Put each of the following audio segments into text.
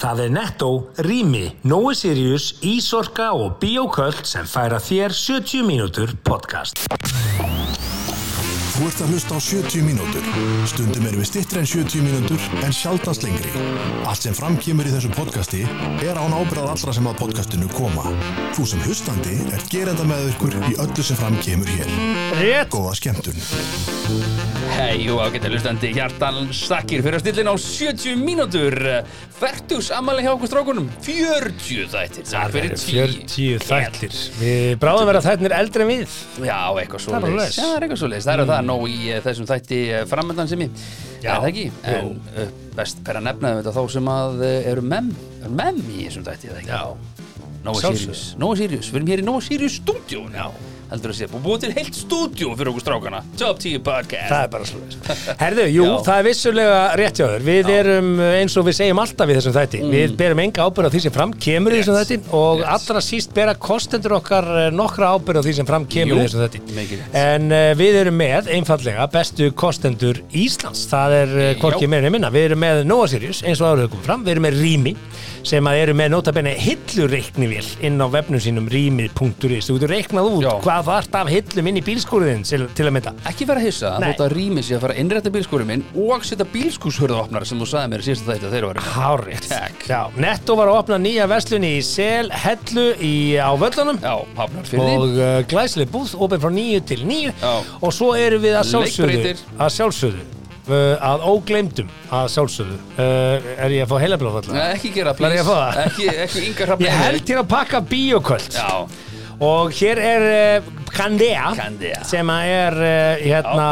Það er Netto, Rými, Nói Sirius, Ísorka og Bíóköld sem færa þér 70 mínútur podcast. Þú ert að hlusta á 70 mínútur. Stundum erum við stittri en 70 mínútur en sjaldast lengri. Allt sem framkýmur í þessu podcasti er án ábyrðað allra sem að podcastinu koma. Þú sem hlustandi er gerenda með ykkur í öllu sem framkýmur hér. Rétt. Góða skemmtun. Hei og ágættu hlustandi, hjartan stakkir fyrir að stillin á 70 mínútur Fertugs ammali hjá okkur strákunum 40 þættir, takk fyrir 10 40 þættir Við bráðum vera þættirnir eldri en við Já, eitthvað svo Það er bara svoleiðis. leis Já, það er eitthvað svo leis, það er það nóg í eh, þessum þætti framöndan sem ég Já. Er það ekki, en uh, best per að nefna þetta þá sem að eh, eru mem, eru mem í þessum þætti, er það ekki Já Nóa Sjálfsögðu. Sirius, Nóa Sirius, við erum hér í Nóa Sirius stúdíu Já Heldur að sé, búið til heilt stúdíu fyrir okkur strákana Top 10 podcast Það er bara slúðis Herðu, jú, Já. það er vissulega rétt hjá þér Við erum eh, eins og við segjum alltaf í þessum þætti Mm. Við berum enga ábyrð á því sem fram kemur í Rétt. þessum þætti og Rétt. allra síst bera kostendur okkar eh, nokkra ábyrð á því sem fram kemur Jú, í þessum þætti mikið rétt. En uh, við erum með einfallega bestu kostendur Íslands Það er uh, Já. hvorki meira en minna Við erum með Nóa Sirius eins og áður hefur komið fram Við erum með Rými sem að eru með notabenni hillureiknivél inn á vefnum sínum rými.is Þú getur reiknað út Já. hvað þarft af hillum inn í bílskúriðin til, til að mynda ekki vera að hissa Nei. þótt að rými sé að fara að innrætta bílskúrið minn og setja bílskúshörðaopnar sem þú sagði mér í síðasta þætti að þeir eru Hárétt Takk. Já, Netto var að opna nýja verslun í Sel, Hellu í, á völlunum Já, hafnar fyrir og uh, glæsli búð, opið frá nýju til nýju Já. og svo erum við að sjálfsögðu Leikbreytir. að sjálfsögðu uh, að ógleymdum að sjálfsögðu uh, er ég að fá heilabláfalla? því ekki gera Lær ég að fá það? ekki, ekki yngar hrafn Ég held til að pakka bíoköld Já, og hér er uh, Candea Candea. sem að er uh, hérna,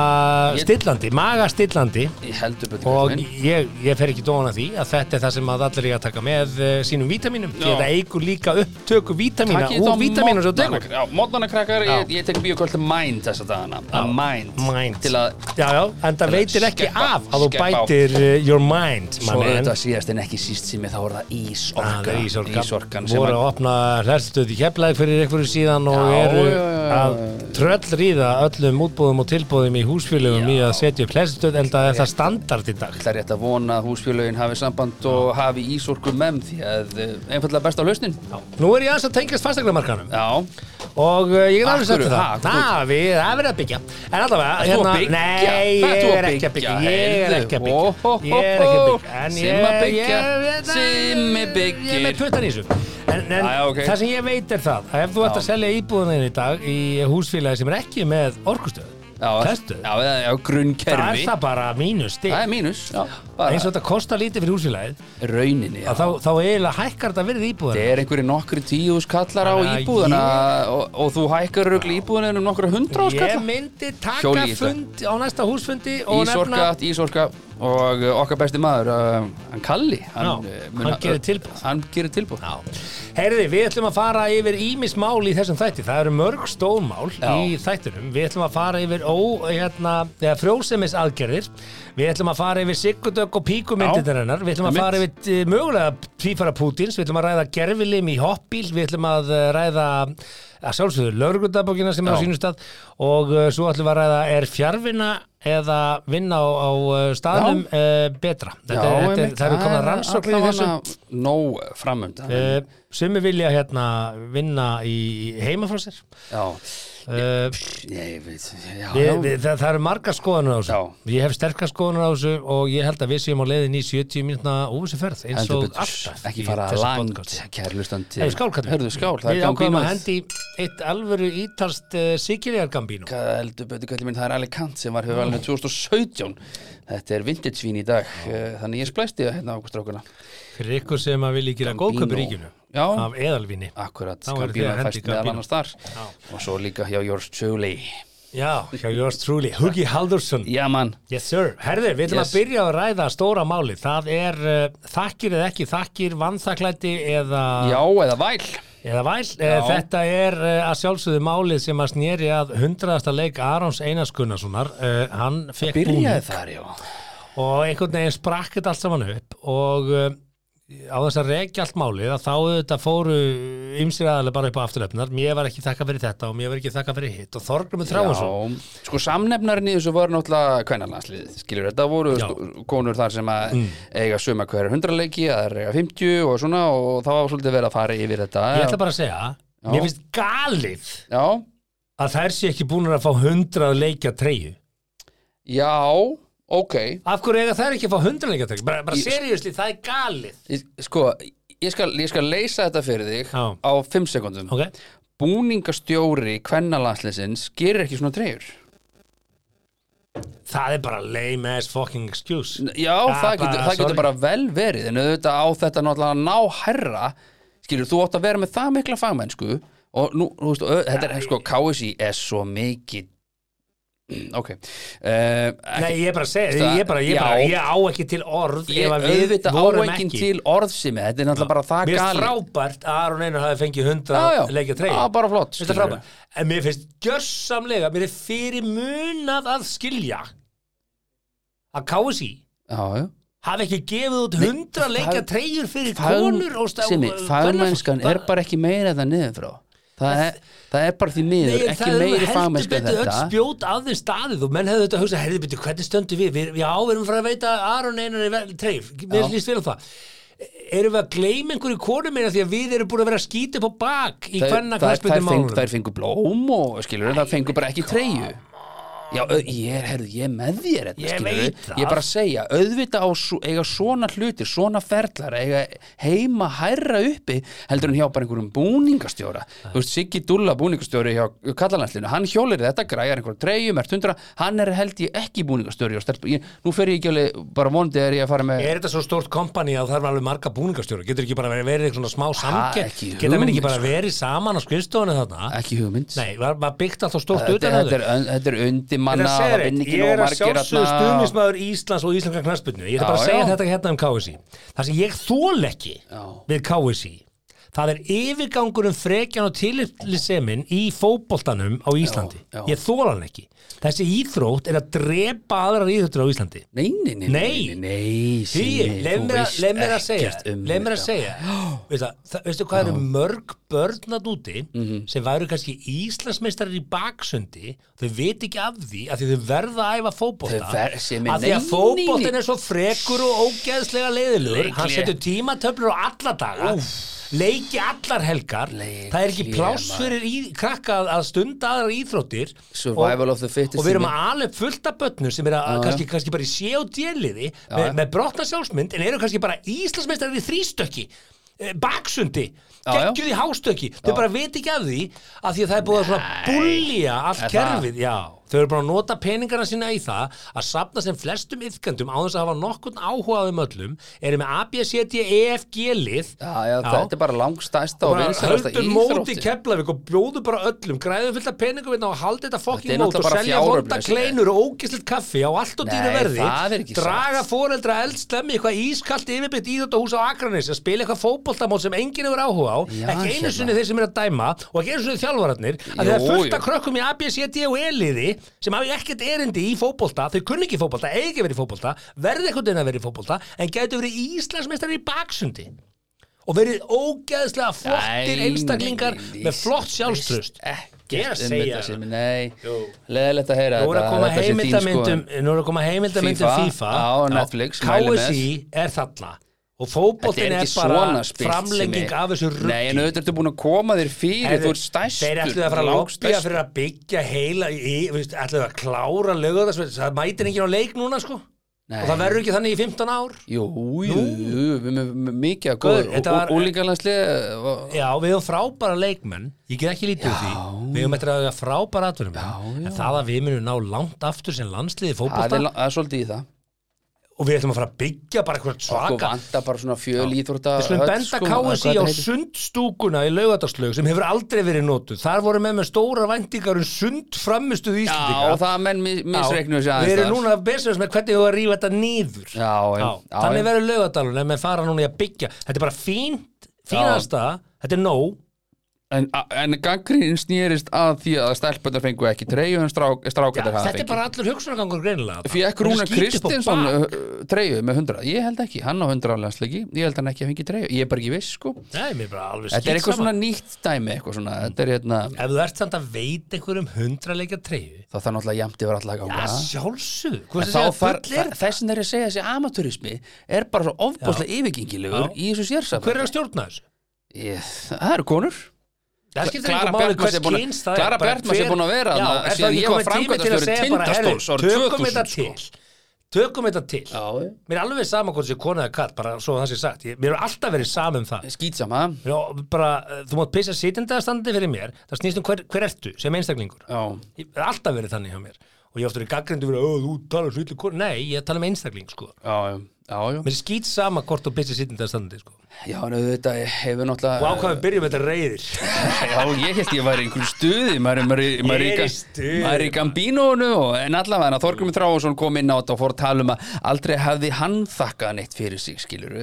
Ég- stillandi, magastillandi ég heldur betur og minn. ég, ég fer ekki dóna því að þetta er það sem að allir ég að taka með uh, sínum vítaminum Já. því að það eigur líka upptöku vítamina Takið þetta úr á vítaminu svo morgnana, tegur Já, mótnana krakkar, ég, Já. ég tek bíokvöld til Mind þessa dagana Að Mind Mind. Til að já, já, en Til að það veitir ekki skeppa- af að þú skeppa á. bætir uh, your mind my Svo man. auðvitað síðast en ekki síst sem ég þá er það Ah, það Ísorka er Ísorka, Ísorkan sem voru að að opna hlærstöð í keflaðið fyrir einhverju síðan og Já, eru já, já, já. að tröll ríða öllum útbúðum og tilbúðum í húsfélögum í Já. að setja upp hlærstöð en það er það standard í dag Það er rétt að vona að húsfélögin hafi samband og hafi ísorku með því að eh, einfallega besta lausnin Nú er ég aðeins að tengjast fastegnarmarkanum Já, og uh, ég get Af alveg sagt hverju? þér Ha, það hvað þú- það við- það er verið að byggja en allavega Ert þú að byggja? nei, Hvað ert þú ég að er ekki að byggja ég er ekki að Ó, byggja hó, ég er ekki að byggja en hó, ég, ég, ég, Simma byggja, Simmi ég er með byggir. puttan í þessu en, en Já, já, ok. það sem ég veit er það að ef þú ert að Já. selja íbúðuninn í dag í húsfélagi sem er ekki með orkustöð já, testu já, já, já það er grunnkerfi það bara mínus stig Það er mínus já, bara eins og þetta kostar lítið fyrir húsfélagið Rauninni, já að þá, þá eiginlega hækkar þetta verið Það íbúðuninn er einhverju nokkru tíus kallar á Þannig að íbúðuna ég- og, og þú hækkar rögl íbúðuna um nokkru hundra á Ég skalla myndi taka Hjóli í þetta. fund á næsta húsfundi og Ísorka, nefna Ísorka og uh, okkar besti maður, uh, hann Kalli Hann, Já, uh, hann gerir tilboð. Hann gerir tilbúð Herði, við ætlum að fara yfir ímismál í þessum þætti. Það eru mörg stóðmál Já. í þættinum. Við ætlum að fara yfir ó, hérna, eða, frjósemis aðgerðir. Við ætlum að fara yfir sikkudögg og píkumyndirnar Já. hennar. Við ætlum að Einmitt. fara yfir eh, mögulega tvífara Pútins. Við ætlum að ræða gerfilim í hoppbíl. Við ætlum að eh, ræða að sjálfsögðu laurugundabókina sem er á Já. sínum stað og uh, svo ætlum við að ræða er fjárvinna eða vinna á, á eh, staðnum uh, betra. Þetta, er- þetta, er- einmitt, það eru komna rannsóknir í þessu. allavega Nóg framönda Uh, sumi vilja hérna vinna í heima frá sér Já, uh, ég veit Já, við, já. við, það, það eru margar skoðanur á þessu Já. ég hef sterkar skoðanur á þessu og ég held að við séum á leiðin í 70 mínútna óvissuferð eins Heldur og betur. alltaf ekki í fara þessu langt podcast. kærlustandi Hey, skál, Katrín. Hörðu skál, það er Við gangi í ákvæðum að maður hendi eitt alvöru ítalst uh, Sigurjar Gambino heldur betur kallið minn, það er Alicant sem var hefur alveg 2017 þetta er vintage vín í dag eh, þannig ég splæsti það hérna ákvæmst rákuna fyrir ykkur sem að vilja gera Gambino. góðköp í ríkinu Já. Ah. af eðalvinni akkurat, Þá eru þið Gambino að hendi fæst meðal Gambino. annars þar og svo líka hjá Yours Truly já, hjá yours truly, Hugi Haldursson já mann, Yes sir, herður, við ætlum Yes. að byrja að ræða stóra máli, það er uh, þakkir eða ekki þakkir, vannþaklæti eða, já eða væl eða væl, uh, Já. þetta er uh, að sjálfsögðu málið sem að snýri að hundraðasta leik Arons Einars Gunnarssonar, uh, hann fekk búning byrjaði þar já og einhvern veginn sprakk þetta allt saman upp og uh, á þess að regja allt málið að þá þetta fóru ymsir aðalega bara upp á afturlefnar mér var ekki þakka fyrir þetta og mér var ekki þakka fyrir hitt og Þorgrumur Þráinsson Já, sko samnefnarinn í þessu var náttúrulega kvennalandsliðið, skilur þetta voru Já. Mm. stó- konur þar sem að eiga suma hverja hundraleiki, aðra eiga 50 og svona og það var svolítið verið að fara yfir þetta ég ætla bara að segja, mér finnst galið Já, að þær sé ekki búin að fá hundrað leikja treyju já, ok af hverju eiga þær ekki að fá hundrað leikja treyju bara, bara Ég- seriðusli, það er galið Ég- Sko, ég skal, ég skal leysa þetta fyrir þig Já. á 5 sekundum ok, Búningastjóri kvennalandsliðsins gerir ekki svona treyjur það er bara lame ass fucking excuse Já, það, getur, það getur sorry. bara vel verið en auðvitað á þetta náttúrulega að ná herra skilur, þú átt að vera með það mikla fagmennsku og nú, þú veist, ö, þetta er sko KSI er svo mikið Mm, ok uh, Nei, ekki, ég er bara að segja, Þú veist ég, að- er bara, ég, Já. bara, ég á ekki til orð ég ef að við auðvitað á vorum ekki ekki. til orðsimi þetta er náttúrulega bara það Mér gali er frábært að Aron Einar hafi fengið Já, já. 100 leikja treyju Já, bara flott, Mér finnst það skilurðu. frábært. En mér finnst gjörsamlega, mér er fyrir munað að skilja að KSI já, já. hafi ekki gefið út 100 leikja treyjur fyrir konur og stað- Fagsimi, og- fagmennskan er Bara- bara ekki meira þetta niður frá það er, það er bara því Nei, miður en ekki það eru meiri heldur fagmennska betur öll þetta spjót að þeim staðið og menn hefðu þetta að hugsa, herðu betur, hvernig stöndum við? við já, við erum frá að veita að Aron Einar er treyf, mér Já. líst vel á það erum við að gleyma einhverju konum meina því að við erum búin að vera að skýta upp á bak í Þær- hvernig þær- þær knarspöndum fengu- málunum þær fengu blóm og skilur það fengu bara ekki treyju já, ö- ég er, herðu, ég er með þér þetta, Ég skilurðu. veit það. ég er bara að segja, auðvitað á svo, eiga svona hlutir, svona ferlar eiga heima hærra uppi heldur en hjá bara einhverjum búningastjóra þú veist, Siggi Dulla búningastjóri hjá kallalandslinu, hann hjólir þetta, græjar einhverjum treyjum, er tundra, hann er held ég ekki búningastjóri og stelp, ég, nú fer ég ekki alveg bara vonandi er ég að fara með er þetta svo stórt kompani að það var alveg marga búningastjóra getur ekki bara verið, verið eitthvað svona smá ekki samkepp geta menn hugmynd, sko. ekki bara verið saman á skrifstofunni þarna ekki hugmynd nei, var, var byggt alltaf stórt Þetta, utan að þetta, þau er, þetta er undir Ég er manna að segja þér eitt, ég er að sjálfsögðu stuðnismæður Íslands og Íslenska knarspilnu ég er Já, bara að segja já. þetta hérna um KSI það sem ég þól ekki Já. við KSI það er yfirgangurum frekjan og tilitlisemin í fótboltanum á Íslandi Já, já. ég þól hann ekki þessi íþrótt er að drepa aðrar íþróttur á Íslandi Nei, nei, nei, Nei. nei, nei Simmi, Því, leið mér þú að- veist leið mér að segja ekkert um leið mér að þetta. segja Veist það, það- veistu hvað eru mörg börn að úti Mhm. sem væru kannski Íslandsmeistarar í baksundi þau veit ekki af því að því þau verða að æfa fótbolta Þau ver- sem er- að því að nei, fótboltin nei. er svo frekur og ógeðslega leiðilugur Leikhlé. hann setur tímatöflur á alla daga leiki allar helgar Leikhlé, það er ekki pláss maður. fyrir í, krakka að- að stunda aðra íþróttir Survival of the fittest og við erum Simmi. að alveg fullt af börnum sem eru að, kannski, kannski bara í sé og djeliði með, já. með brotna sjálfsmynd en eru kannski bara Íslandsmeistarar í þrístökki eh, baksundi, Já, já. geggjuð í hástökki þau bara veit ekki af því að því að það er búið að svona bullja allt Er það? kerfið já, þau eru bara að nota peningarna sína í það að sapna sem flestum yfkandum á þess að hafa nokkurn áhuga á þeim öllum eru með ABCDEFG E lið Já, já, þetta er bara langstæsta og bara vinsalasta höldum móti íþróttin. Keflavík og bjóðum bara öllum græðum fullt af peningum hérna og haldið þetta Þetta fokkin er mót og náttúrulega bara selja vonda fjáröflun, kleinur og ógislitt kaffi á allt og Nei, dýru það er verði ekki draga satt. foreldra eldstemmi eitthvað ískalt yfirbyggt íþjóttahús á Akranis að spila eitthvað fótboltamót sem enginn hefur áhuga á Já, ekki einu hérna. sinni þeir sem er að dæma og ekki einu sinni þjálfararnir að Jú, þeir fullt jú. af krökkum í ABCD og E-liði sem hafi ekkert erindi í fótbolta þau kunni ekki í fótbolta, eigi ekki verið í fótbolta verði eitthvað að verið í fótbolta en gætu verið Íslandsmeistar í baksundi og verið ógeðslega flottir Nei, einstaklingar nei, nei, með flott veist sjálfströst Ég er að Ekkert um segja þetta það. sem, nei Jú. Leðilegt að heyra Nú er að koma þetta sé þín heimildamyndum skoðun. Nú er að koma heimildamyndum FIFA, FIFA á Netflix, mæli með. KSI er þarna og Þetta fótboltin er er, ekki bara svona spilt framlenging Simmi. af þessu ruggi Nei, en auðvitað ertu búin að koma þér fyrir Þú ert stærstur Þeir ætluðu að fara að lobbya langstærstur. fyrir að byggja heila í, viðst, ætluðu að klára lögur það mætir enginn á leik núna sko Nei. og það verður ekki þannig í 15 ár Jú, jú, jú, við með mikið að Guður, þetta var- góður Úlingarlandslið Já, við höfum frábæra leikmenn Ég get ekki lítið úr því Við höfum eftir að hafa frábæra atvinnum En það að við munum ná langt aftur sem landsliði í Það fótbolta er la- það er svolítið í það Og við ætlum að fara að byggja bara eitthvað Sko svaka vanta bara svona fjöl íþrótta sko, Við slum benda KSI á sundstúkuna í laugardarslaug sem hefur aldrei verið notuð Þar voru með með stóra væntingar um sundframmistuð Já, Íslandinga það að menn Já, mis- misreiknuðu sér aðeins Við erum þar. núna að besast með hvernig við erum að rífa þetta nýður Já, já, já, Þannig já. verður laugardalun ef við fara núna í að byggja Þetta er bara fínt, fínasta Þetta er nóg en, en gangriðin snýrist að því að stelpunar fengu ekki treyju en strák, strákar hafa Þetta er bara allur hugsunargangur greinilega Fekk Hún er Rúnar skítið upp á Kristinsson bak. uh, uh, treyju með 100? Ég held ekki, hann á 100 álandsleiki Ég held hann ekki að fengi treyju, ég er bara ekki viss sko Nei, mér er bara alveg Þetta er skýt eitthvað saman svona nýtt dæmi eitthvað svona, þetta er hérna Ef þú ert samt að veit einhverjum hundraleika treyju þá þarf náttúrulega jæmt yfar alla Já, að ganga sjálfsög En Hvað þá það far, segja, bull er þess að þeir segja þessi amatúrismi er bara svo ofbúslega yfirgengilegur Já. í þessu sérsam Hver er að stjórna þessu? Það eru konur Það skiptir Klara einhver máli Bjartmarz hvers er búin að- kyns það er, Klara bara Bjartmarz er hver- búin að vera Já, þarna er það síðan ekki ég var kominn tími til að framkvæmdastjóri segja bara, herri, Tindastóls árið Tökum 2000, þetta sko? til Tökum þetta til Já, Mér er alveg sama hvort sér kona eða katt bara svo það sé sagt ég, Mér er alltaf verið sama um það skýtsama Já, bara, eh, Þú mátt pissa sitjandi að standandi fyrir mér Það snýst um hver, hver ertu sem einstaklingur Já, Ég er alltaf verið þannig hjá mér Og ég oftur í gaggrindu verið "Ó, Þú talar svo yllu kona Nei, ég tala um einstakling sko já, já, já, já. Mér er skýt sama hvort þú pissa sitjandi að standandi sko Já, en auðvitað hefur Og náttúrulega ákvæðum byrjum þetta reiðir Já, ég held ég væri í einhverju stuði maður, maður, maður, Ég er í maður, stuði. maður í Gambínónu og, en allavega þannig að Þorgrimi Þrávason kom inn á þetta og fór að tala um að aldrei hefði hann þakkað neitt fyrir sig skilur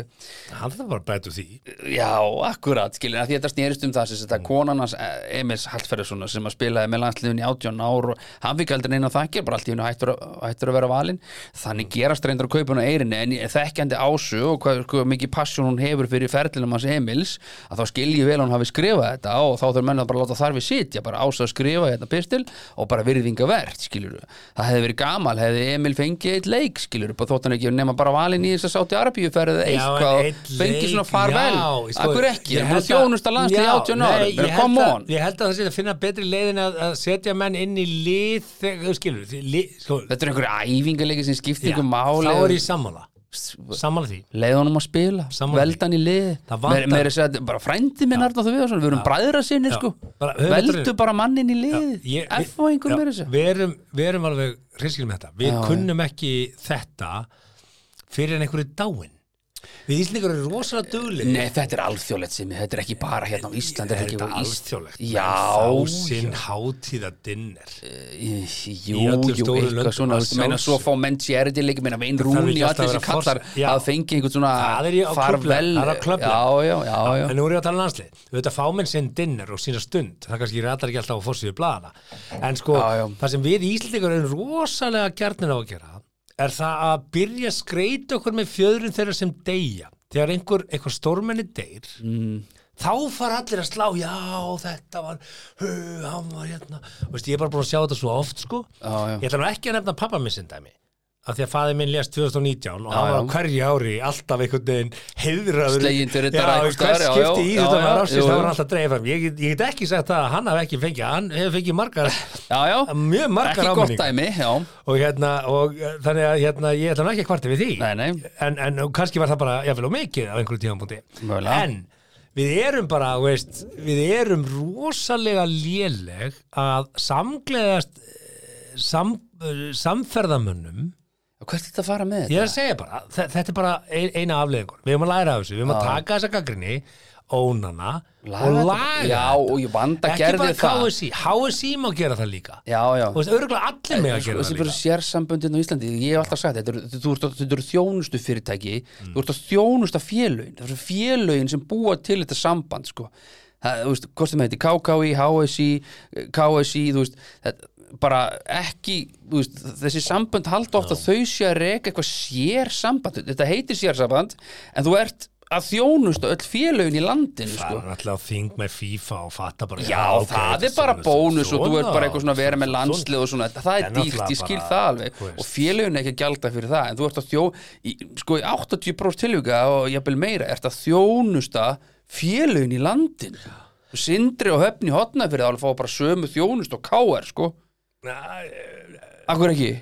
Hann þarf bara að bæta úr því Já, akkurat skilur að því þetta snerist um það sem þetta konan hans eh, Emils Hallferðarssonar sem að spilaði með landsliðun í 18 ár og hann fikk aldrei neina þakkir bara allt í hennu hættur, að- hættur að vera valinn þannig gerast reyndar að kaupa hann á eirinni en ég- þekkjandi ásu og hvað, hvað mikið passjón hún hefur fyrir ferðlinum hans Emils að þá skilji vel að hún hafi skrifað þetta og þá þurfum menn að bara láta þar við sitja bara ása að skrifa hérna pistil og bara virðinga verð skilur það hefði verið gamal, hefði Emil fengið eitt leik skilur, bara þótt hann ekki nema bara valinn í þess að sátti Arabíu ferð eða Já, en eitthvað einn fengi leik, svona farvel, já, sko, akkur ekki ég það er held að- þjónust að landslið í Já, 18 nei, ára ég come held að- on, Ég held að það sé að finna betri leiðin að, að setja menn inn í lið þegar- þú skilur, því lið, sko, þetta er einhverja æfingalegi sem skiptir já, ykkur máli þá er ég og- sammála sammála því leið honum að spila, Sammála. veldan í lið Það Meir- vantar- meira að segja, þetta er bara frændi minn Arnáð Þjóðsson, við erum bræðra sinni Já. sko, Bara höfum þetta- veldu bara mannin í lið Ég- F og já, einhver meira að segja við erum, við erum alveg hrisskil með þetta við kunnum ekki þetta fyrir en einhverju dáin við Íslingar eru rosalega duglega Nei, þetta er alþjóðlegt sem þetta er ekki bara hérna á Íslandi er þetta ekki þetta bara Ísland. alþjóðlegt þá Já, sinn hátíða dinner Í- jú, Í öllum jú, stóru eitthvað löndum svona að þú veist, meina svo sjálfsögðu. fá menn charity leik meina Vein þarf Rúni ekki og alltaf að allir þessi vera kallar fors- Já. að fengi einhvern svona Það er ég á klubla, farvel það er á klubla. já, já, já, já. en nú er ég að tala um landslið við veit að fá menn sinn dinner og sína stund það kannski ratar ekki alltaf á fórsvíðu blaðana en sko, Já, já. það sem við Íslendingar erum rosalega gjarnir á að gera er það að byrja að skreita okkur með fjöðrun þeirra sem deyja þegar einhver, einhver stórmenni deyr mm. þá fara allir að slá já, þetta var hö, hann var hérna Vist, ég er bara búin að sjá þetta svo oft sko Já, já. ég ætla nú ekki að nefna pappa minn sem dæmi af því að faði minn lést 2019 og hann var já. á hverju ári alltaf einhvern veginn heiðraður Sleginn til riddara Já, einhvers hvers staðar, já, skipti já, í já, þetta já, var rafsins jú, það jú. var alltaf dreifð fram ég, get- ég get ekki sagt það að hann hafi ekki fengið hann hefur fengið margar, já, já. mjög margar ekki gott áminningar. dæmi já. og hérna og eh, þannig að hérna, ég ætla hann ekki að kvarta við því Nei, nei. en, en kannski var það bara jáfnvel og mikið á einhverju tíðanbúndi Mögulega. en við erum bara þú veist, við erum rosalega léleg að samgleðast eh, sam, eh, samferðamönnum Og hvert er þetta að fara Ég með þetta? er að segja bara, þe- þetta er bara ein- eina afleðingur. Við erum að læra af þessu, við erum að taka þessa gaggrinni, ónana og þetta- laga já, og ég vanda Ekki gerði bara það KSI, HSI má gera það líka. já, já Og örgulega allir með að Sko, gera þessi það bara líka. sérsamböndin á Íslandi ég hef alltaf sagt þetta eru- þetta eru- þetta eru þjónustu fyrirtæki Mm. þú ert að þjónusta félögin það eru félögin sem búa til þetta samband sko. það, þú veist, hvort sem þetta er KKI HSI, eh, KSI þú veist, þetta, bara ekki þú veist, þessi sambönd halda ofta þau sé að reka eitthvað sérsamband þetta heitir sérsamband en þú ert að þjónusta öll félögin í Það landinu sko. er alltaf þing með FIFA og fatta bara Já, Ah, ok, það þetta er bara svona- bónus og þú svona- ert bara eitthvað svona að vera með svona- landslið og svona, það er En dýrt, náttúrulega ég skil bara, það alveg þú veist. og félögin ekki að gjalda fyrir það en þú ert að þjó, í, sko í 80% tilvika og jafnvel meira, ert að þjónusta félögin í landin Sindri og Höfni hotna fyrir það alveg fá bara sömu þjónust og káar sko, akkur ekki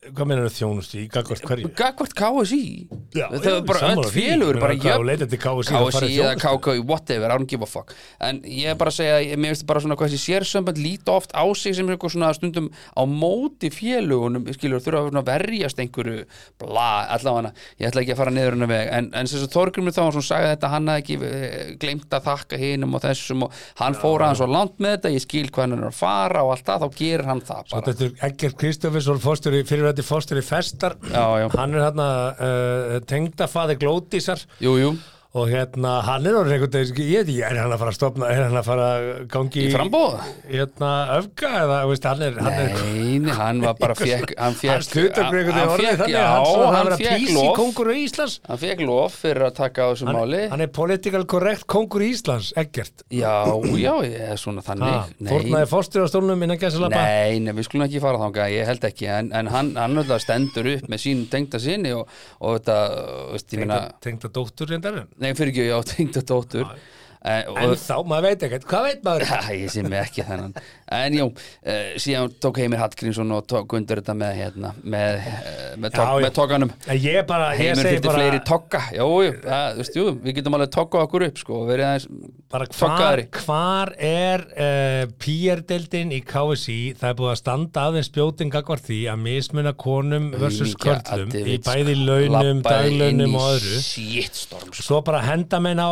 Hvað meina þjónustu í gagvart hverju? Gagvart KSI Já, það já, er bara sammála því. öll félögur Ég bara meina, hvað, jöfn- og leita til KSI, það KSI farið eða þjónustu. KKI, whatever, I don't give a fuck en ég er bara að segja, ég- mér finnst bara svona hvað þessi sérsamband líta oft á sig sem eitthvað svona stundum á móti félugunum skilur þurfa að svona verjast einhverju bla, allavega ég ætla ekki að fara niður hennar veg, en, en þess að Þorgrymur þá hann sagði þetta, hann hafði ekki glemt að þakka hinum og þessum og hann fór aðeins og langt með þetta, ég skil hvað hann er að fara og allt það, þá gerir hann það bara Þetta er Egger Kristoffersson fórstjóri, fyrirvætti fórstjóri festar Já, já. hann er hérna uh, tengdafaði glótisar Jú, jú, eh, og hérna, hann er orðin einhvern veginn, ég veit ekki, er hann að fara að stopna, er hann að fara að gangi Í framboð? Hérna, öfga eða, þú veist, hann er, hann er, Nei, nei, hann var bara fekk Hann hann fekk stuttar einhvern veginn orðið þannig já, að hann svona hann hann vera fekk písi lof kongur á Íslands. Hann fekk lof fyrir að taka á þessu Hann, máli hann er political correct kongur í Íslands, ekkert. Já, já, ég er Ha, svona þannig Nei, Fórnaði fórstur á stólnum innan gæsalappa. Nei, nei, við skulum ekki fara þangað, ég held ekki en, en hann, hann alltaf stendur upp með sínum tengda sinni og, og þetta, veist, ég meina Tengda dóttur reyndar en. Nei, fyrir ekki, já, tengda dóttur en, En og, þá, maður veit ekkert, hvað veit maður? Æ, ég sé mig ekki þennan en jú, uh, síðan tók Heimir Hallgrímsson og tók undir þetta með hérna, með, uh, með, tók, Já, já. með tókanum En Ég bara, ég Heimir segi fyrir bara, fleiri tóka jú, jú, það, þú veist, jú, við getum alveg tóka okkur upp sko, og verið aðeins bara hvar, tókaðari hvar er uh, PR-deldin í KSI það er búið að standa aðeins spjótin gagvar því að mismuna konum versus Mingja körlum Adevits í bæði launum, labbaði inn daglaunum í og öðru shitstorm, sko. svo bara henda menn á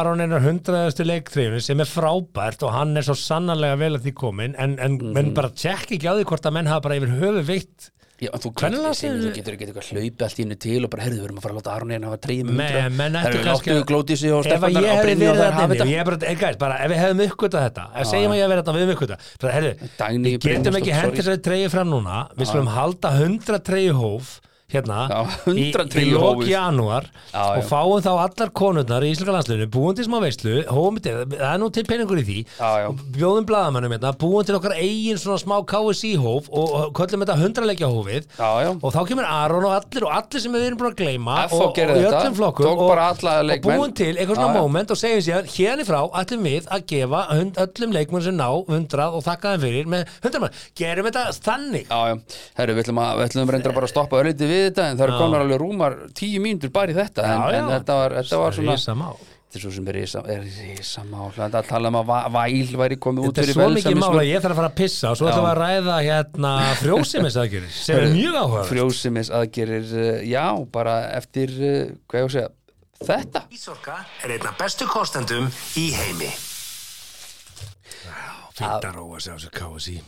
Aron einar hundraðastu leiktrifinu sem er frábært og hann er svo sannarlega vel að því komin en, en Mhm. menn bara tjekk ekki á því hvort að menn hafa bara yfir höfu veitt Já, en þú Hvenær getur, las sem, ég- þú getur ekki eitthvað hlaupið allt í hennu til og bara, herðu, við erum að fara að láta Aron einn hafa treyjum Men- menn ættu Herðu, kannski láttu að- glótið sig og ef að stefnarnar ég og hefði Brynju og verið þær hafa þarna inni, þetta ég er bara, hey guys, bara ef við hefðum uppgötað þetta ef segjum að ég hef verið þarna, við hefum uppgötað bara, herru, Dagný við getum Brynjarsdóttir, ekki hendur sorry. þessari treyju fram núna við skulum halda 100 treyju hóf hérna, Já, 100 í, í lok treyjuhófið. janúar Já, já. og fáum þá allar konurnar í Íslenska landsliðinu búum til smá veislu, hófum til það er nú til peningur í því Já, já. og bjóðum blaðamannum hérna, búum til okkar eigin svona smá KSI hóf og og köllum þetta 100 leikja hófið Já, já. og þá kemur Aron og allir og allir sem við erum búin að gleyma FH og, og í gerði þetta, öllum flokkum tók og, bara alla og leikmenn. búin til eitthvað Já, svona já. moment og segjum sér hérna í frá ætlum við að gefa hund, öllum leikmenn sem ná 100 og þakka þeim fyrir með 100 mann, gerum þetta þannig Já, já, herru, við ætlum, að, við ætlum reyndar bara að stoppa örlítið við þetta en það eru konar alveg rúmar tíu mínútur bara í þetta en, Já, já. en þetta, var, þetta var svona Rísa mál. þetta er svo sem er risa- er risamál það er að tala um að va- væl væri komið út Þetta er fyrir svo mikið mál að velsæmismun ég þarf að fara að pissa og svo ætlum við að ræða hérna frjósimisaðgjörir sem er mjög áhugað frjósimis aðgerir, eh, já, bara eftir eh, hvað ég á að segja, þetta Ísorka er einna bestu kostendum í heimi. Fint að róa sig á þessu KSI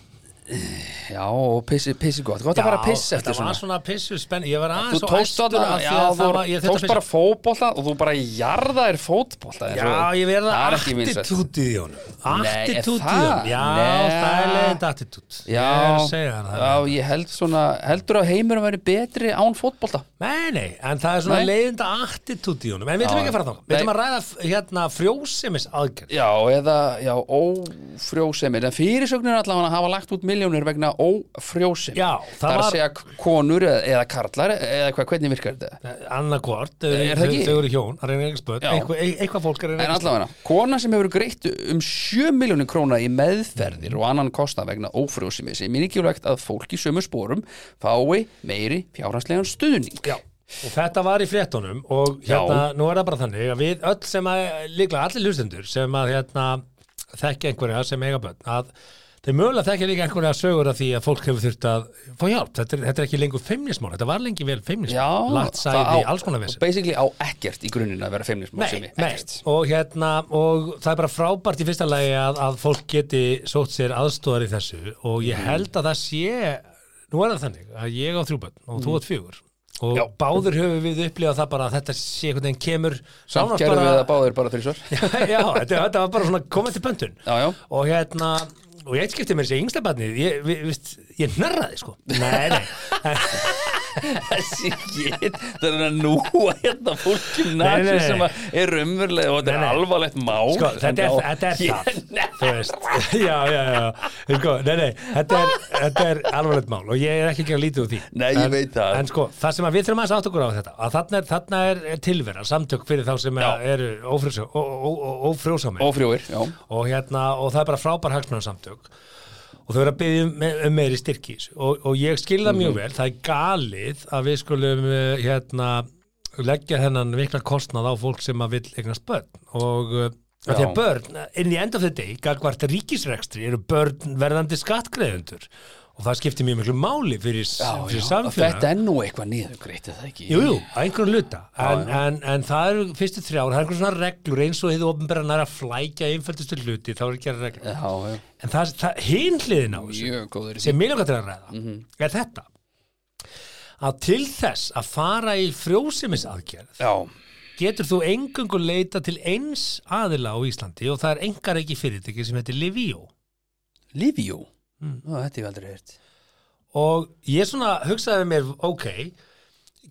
já, og pissi, pissi gott, gott að fara að pissa eftir þetta var svona svona pissu spenn ég var þú aðeins og tókst æstur þarna, af því já, að þú það var- ég þurfti að tókst pissa. bara fótbolta og þú bara jarðaðir fótbolta eins og- Já, ég verða það er ekki vinsælt. attitútið í honum Nei, er Attitútið í það? honum Já, Nei. það er leiðind attitút Já, Ég er að segja þér það já, ég held svona, heldur að heimurum væri betri án fótbolta Nei, nei, en það er svona Nei. leiðinda attitút í honum En við ætlum Já, ekki að fara þá Við nei. ætlum að ræða hérna frjósemis aðgerð Já, eða, já, ófrjósemir en fyrirsögnir allavega hafa lagt út miljónir vegna ófrjósemir Já, það það er var- að segja konur eða, eða karlar eða hvað, hvernig virkar þetta? Annarkvort, Er það ekki? þau eru hjón Það er einhvers börn, Já. eitthvað- eit- eitthvað fólk er að reyna En að- allavega, kona sem hefur greitt um 7 miljónir króna í meðferðir og annan kosta vegna ófrjósemi sem er mikilvægt að fólk í sömu spórum fái meiri fjárhanslegan stuðning Já, og þetta var í fréttunum og hérna, nú er það bara þannig að við öll sem að, líklega allir hlustendur sem að hérna, þekkja einhverja sem eiga börn, að þeir mögulega þekkja líka einhverja sögur af því að fólk hefur þurft að fá hjálp, þetta er, þetta er ekki lengur feimnismál, þetta var lengi vel Já, feimnismál það latsæði, á- alls konar vesir Basically á ekkert í grunninn að vera feimnismál Nei, nei, og hérna og það er bara frábært í fyrsta lagi að, að fólk geti sótt sér aðstóðar í þessu og ég Mhm. held að það sé nú er það þannig að ég á þrjúbönn og þú átt fjögur og Mhm. Já. báður höfum við upplifað það bara að þetta sé einhvern veginn kemur Samt nánast gerðum við það bara, báðir bara þrísvar já, þetta, þetta var bara svona komið til pöntun Já, já. og hérna og ég skipti mér þessi yngsta barnið ég, vi, vist, ég narraði sko nei, nei, Þessi get, það er að núa hérna fólki Nei, nei, nazi nei. sem að er umverulega og þetta er Nei, nei. alvarlegt mál sko, þetta er, þetta er Ég- það þú veist, já, já, já sko, nei, nei, þetta er, þetta er alvarlegt mál og ég er ekki að gera lítið úr því Nei, ég En- veit það. en sko, það sem að við þurfum að átt okkur á þetta að þarna er, þarna er, er tilvera, samtök fyrir þá sem Já. eru ófrjósá- ó- ó- ó- ófrjósámi Ófrjóir, já og, hérna, og það er bara frábær hagsmunarsamtök og þau eru að byggja um, um meiri styrki í þessu. og, og ég skil það Mhm. mjög vel það er galið að við skulum eh, hérna, leggja hennan mikla kostnað á fólk sem að vill eignast börn og eh, af því Já. að börn inn í end of the day, gagvart ríkisrekstri eru börn verðandi skattgreðendur og það skiptir mjög miklu máli fyrir, Já, já, já, fyrir og samfélag Þetta er nú eitthvað niðurgreitt, er það ekki? Jú, jú, að einhverjum hluta en, en, en það eru fyrstu þrjár, það eru einhverjum svona reglur eins og þið ofnbæra næra að flækja einföldustu hluti, þá er ekki að reglur Já, já, en það, það hin hliðin á þessu mjög góður í því sem mér langar til að ræða er þetta að til þess að fara í frjósimisaðgerð Já, getur þú engungu leita til eins aðila á Íslandi og það er engar ekki fyrirtæki sem heitir Livio Livjó Mm. Ó, Þetta er aldrei heyrt og ég svona hugsaði mér ok,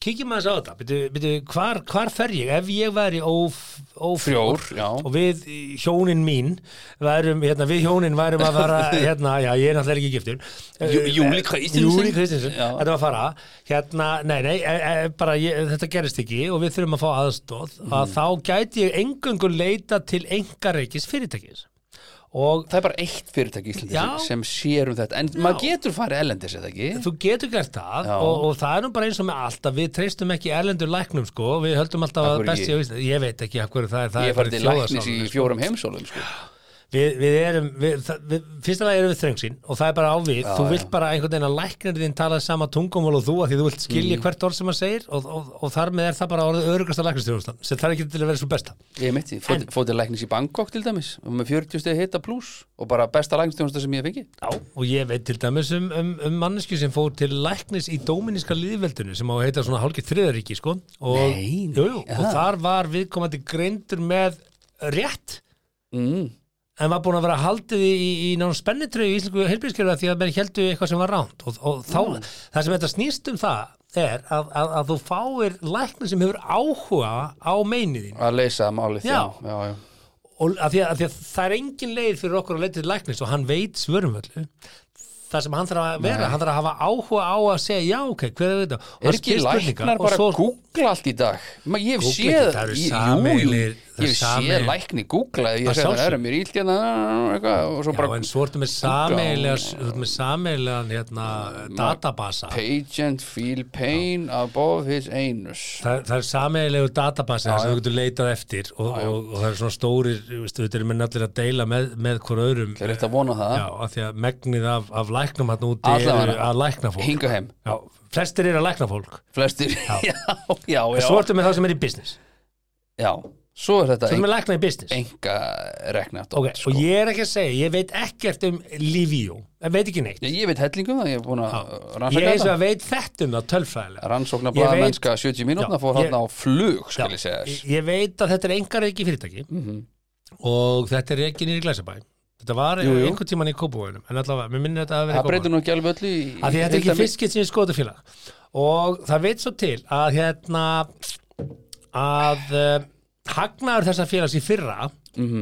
kíkjum aðeins á þetta byrju, byrju, hvar, hvar fer ég ef ég væri óf- ófrjór Frjór, já. og við í, hjónin mín værum, hérna, við hjónin værum að fara hérna, já, ég er náttúrulega ekki giftur Jú- Eh, Júlí Kristiansen. Júlí Kristinsen, Já. þetta var að fara hérna, nei, nei, e, e, bara ég, þetta gerist ekki og við þurfum að fá aðstóð Mhm. að þá gæti ég engöngu leita til engareikis fyrirtækis og Það er bara eitt fyrirtæki í Íslandi Já. sem sér um þetta En maður getur farið ellendis eða ekki Þú getur gert það Já. og, og það er nú bara eins og með allt að við treystum ekki erlendur læknum sko við höldum alltaf Af að hverju besti ekki? á Íslandi ég veit ekki af hverju það er það Ég er hef farið bara til læknis í þjóðarsálin, sko. fjórum heimsólum sko. við, við erum, við, það, við, fyrsta lagi erum við þröngsinn og það er bara ávið, Já, þú já. vilt bara einhvern veginn að læknir þinn tala sama tungumál og þú að því þú vilt skilja Mm. hvert orð sem hann segir og, og, og þar með er það bara orðið örugasta læknistjóðustan sem það er ekki til að vera svo besta Ég mitt, ég fór- fór til læknis í Bangkok til dæmis og með 40 stegi hita pluss og bara besta læknistjónsta sem ég fengi Já, og ég veit til dæmis um, um, um mannesku sem fór til læknis í dóminíska liðveldinu sem á að heita svona hálkið þriðaríki sko. og, Nei, nei, jú, jú, og ja. þar var viðkomandi greindur með rétt mm. en var búin að vera haldið í, í, í náttúrulega spennitrögu í Íslensku helbriðskerfa því að menn heldu eitthvað sem var ránt og, og þá, Mm. það sem þetta snýst um það er að, að, að þú fáir læknir sem hefur áhuga á meiniðin að leysa málið Já. já, já, já. og að því að, að því að það er engin leið fyrir okkur að leita til læknis og hann veit svörum öllu það sem hann þarf að vera, hann þarf að hafa áhuga á að segja já, ok, hver er þetta Og hann er ekki spyr spurninga læknar og bara svo- að googla allt í dag Ma, ég hef Googla ekki, séð það eru ég- jú, sameiginlegir- það eru jú, ég hef sameiginlegir- séð lækni googla Að ég hef það sjálfsögðu. er mér ílt hérna eitthvað, og svo Já, bara en svo ertu með sameiginlega þú ert með sameiginlegan hérna, databasa patient feel pain above his anus Það, það er sameiginlegu databasi þar sem þú getur leitað eftir og, og, og það er svona stórir, þú veist, þetta er með allir að deila með, með hver öðrum er þetta að vona það Já, af því að megnið af, af læknum hann úti Allavega. eru að lækna fólk hinga heim, Já, flestir eru að lækna fólk flestir já, já, En svo já, ertu með það sem er í business já. svo er þetta Svo erum við lækna í business enga rekna Ok, og ég er ekki að segja, ég veit ekkert um Livio, ég veit ekki neitt ég veit hellingum það, ég er búin að Ég rannsaka eins og þetta að veit þetta um það tölfræðilega rannsóknar Ég veit- mennska 70 mínútna Já, fór ég- hann á flug skal Já, ég segja Mhm. þess ég- Ég veit að þetta er engar ekki fyrirtæki og þetta er ekki nýri glæsabæ Þetta var Jú, jú. einhvern tíman í Kópavöginum en allavega, mér minnir þetta að vera það breytir nú ekki alveg öllu í- að því þetta er heildar ekki fiskit sem ég skoðu félag og það veit svo til að hérna að uh, hagnaður þessa félags í fyrra þeir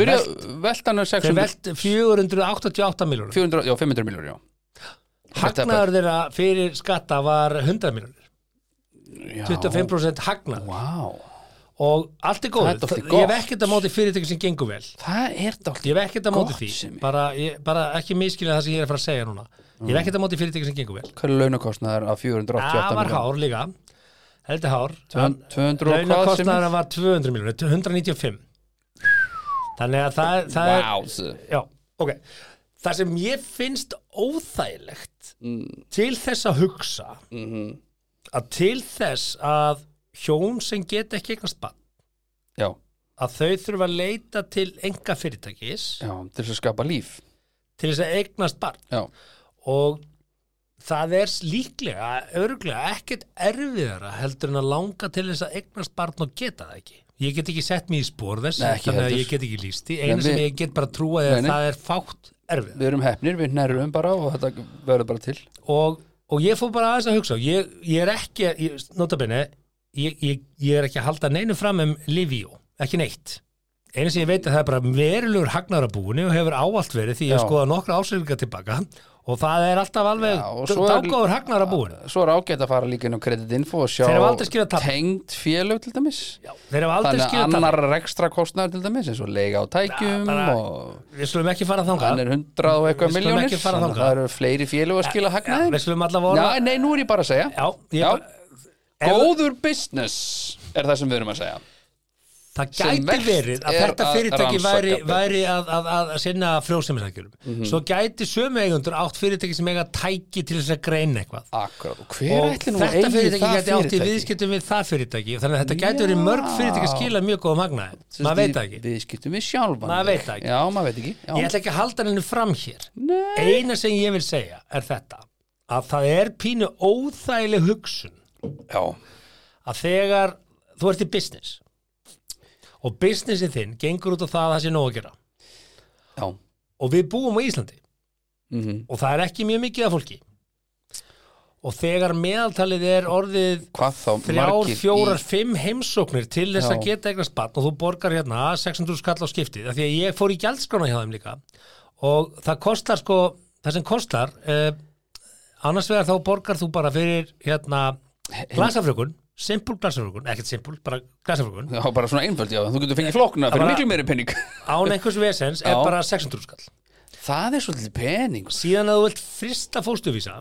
Byrja, velt- veltan er þeir 600, velt 488 miljónur 400, já, 500 miljónur, já. hagnaður þeirra fyrir skatta var 100 miljónur já. 25% hagnað Vá, og allt er góð Það er dálítið ég hef gott. ekkert að móti fyrirtæki sem gengur vel það er dálítið. ég hef ekkert að móti Gott því sem er. bara, ég, bara ekki miskilja það sem ég er að fara að segja núna ég Mm. hef ekkert að móti fyrirtæki sem gengur vel Hvað er launakostnaður af 488 það var hár líka heldur hár Tvö- 200 og hvað sem launakostnaðara var 200 miljónir 195 þannig að það, það er Vá, já, ok það sem ég finnst óþægilegt Mm. til þess að hugsa Mhm. að til þess að hjón sem get ekki eignast bann já, að þau þurfa að leita til enga fyrirtækis já, til þess að skapa líf. til þess að eignast barn Já, og það er líklega, örglega ekkert erfiðara heldur en að langa til þess að eignast barn og geta það ekki ég get ekki sett mér í spór þess Nei, ekki þannig að heldur. ég get ekki líst því, Nei, eina sem við- ég get bara trúa er Nei, að nei. það er fátt erfið við erum hefnir, við nærjum bara og þetta verður bara til. og, og ég fór bara aðeins að hugsa ég, ég er ekki, ég, notabene ég, ég, ég er ekki að halda neinu fram um Livio, ekki neitt einu sem ég veit að það er bara verulegur hagnaður að búinu og hefur ávallt verið því ég Já. skoða nokkra ásynninga tilbaka og það er alltaf alveg Já, og svo er- dágáður hagnaður að búinu Svo er ágætt að fara líka inn á kreditinfo og sjá Þeir hafa aldrei skilað tap. tengd félög til dæmis. Já, þeir hafa aldrei Þannig að skilað annar rekstra kostnaður til dæmis eins og leiga á Já, tækjum bara- og það við slumum ekki fara hann þangað er hundrað og eitthvað Við skulum miljónir ekki fara þannig að þangað. það eru fleiri félög að skila hagnaði við slumum allavega orða Já, nei, nú er ég bara að segja já, ég, Já. bara- ef- Góður business er það sem við erum að segja það sem gæti verst verið að er þetta að fyrirtæki rannsaka væri, betur. Mhm. væri að, að, að sinna frjósemisækjurum svo gæti sömu eigundur átt fyrirtæki sem eiga tæki til þess að greina eitthvað Akkurat, og hver og ætli nú að þetta eigi fyrirtæki það gæti átt í fyrirtæki? viðskiptum við það fyrirtæki þannig að þetta gæti verið Já. mörg fyrirtæki að skila mjög góðum hagnaði Sem maður sagt, veit það í ekki Viðskiptum við sjálfan Maður veit það ekki. Já, maður veit ekki Já. ég ætla ekki að halda henni fram hér Nei, eina sem ég vil segja er þetta að það er pínu óþægileg hugsun já, að þegar þú ert í business og businessin þinn gengur út á það að það sé nóg að gera já, og við búum á Íslandi mhm. og það er ekki mjög mikið af fólki og þegar meðaltalið er orðið hvað þá þrjár, margir fjórar, í... fimm heimsóknir til þess Já. að geta eignast barn og þú borgar hérna 600 skall á skiptið af því að ég fór í gjaldskrána hjá þeim líka og það kostar sko það sem kostar eh, annars vegar þá borgar þú bara fyrir hérna glasafrökun simpul glasafrökun, ekkert simpul, bara glasafrökun Já, bara svona einföld, já, þú getur fengið flókna fyrir bara- miklu meiri pening án einhvers vesens er Já. bara 600 skall Það er svolítið pening síðan að þú vilt frista fóstuvísa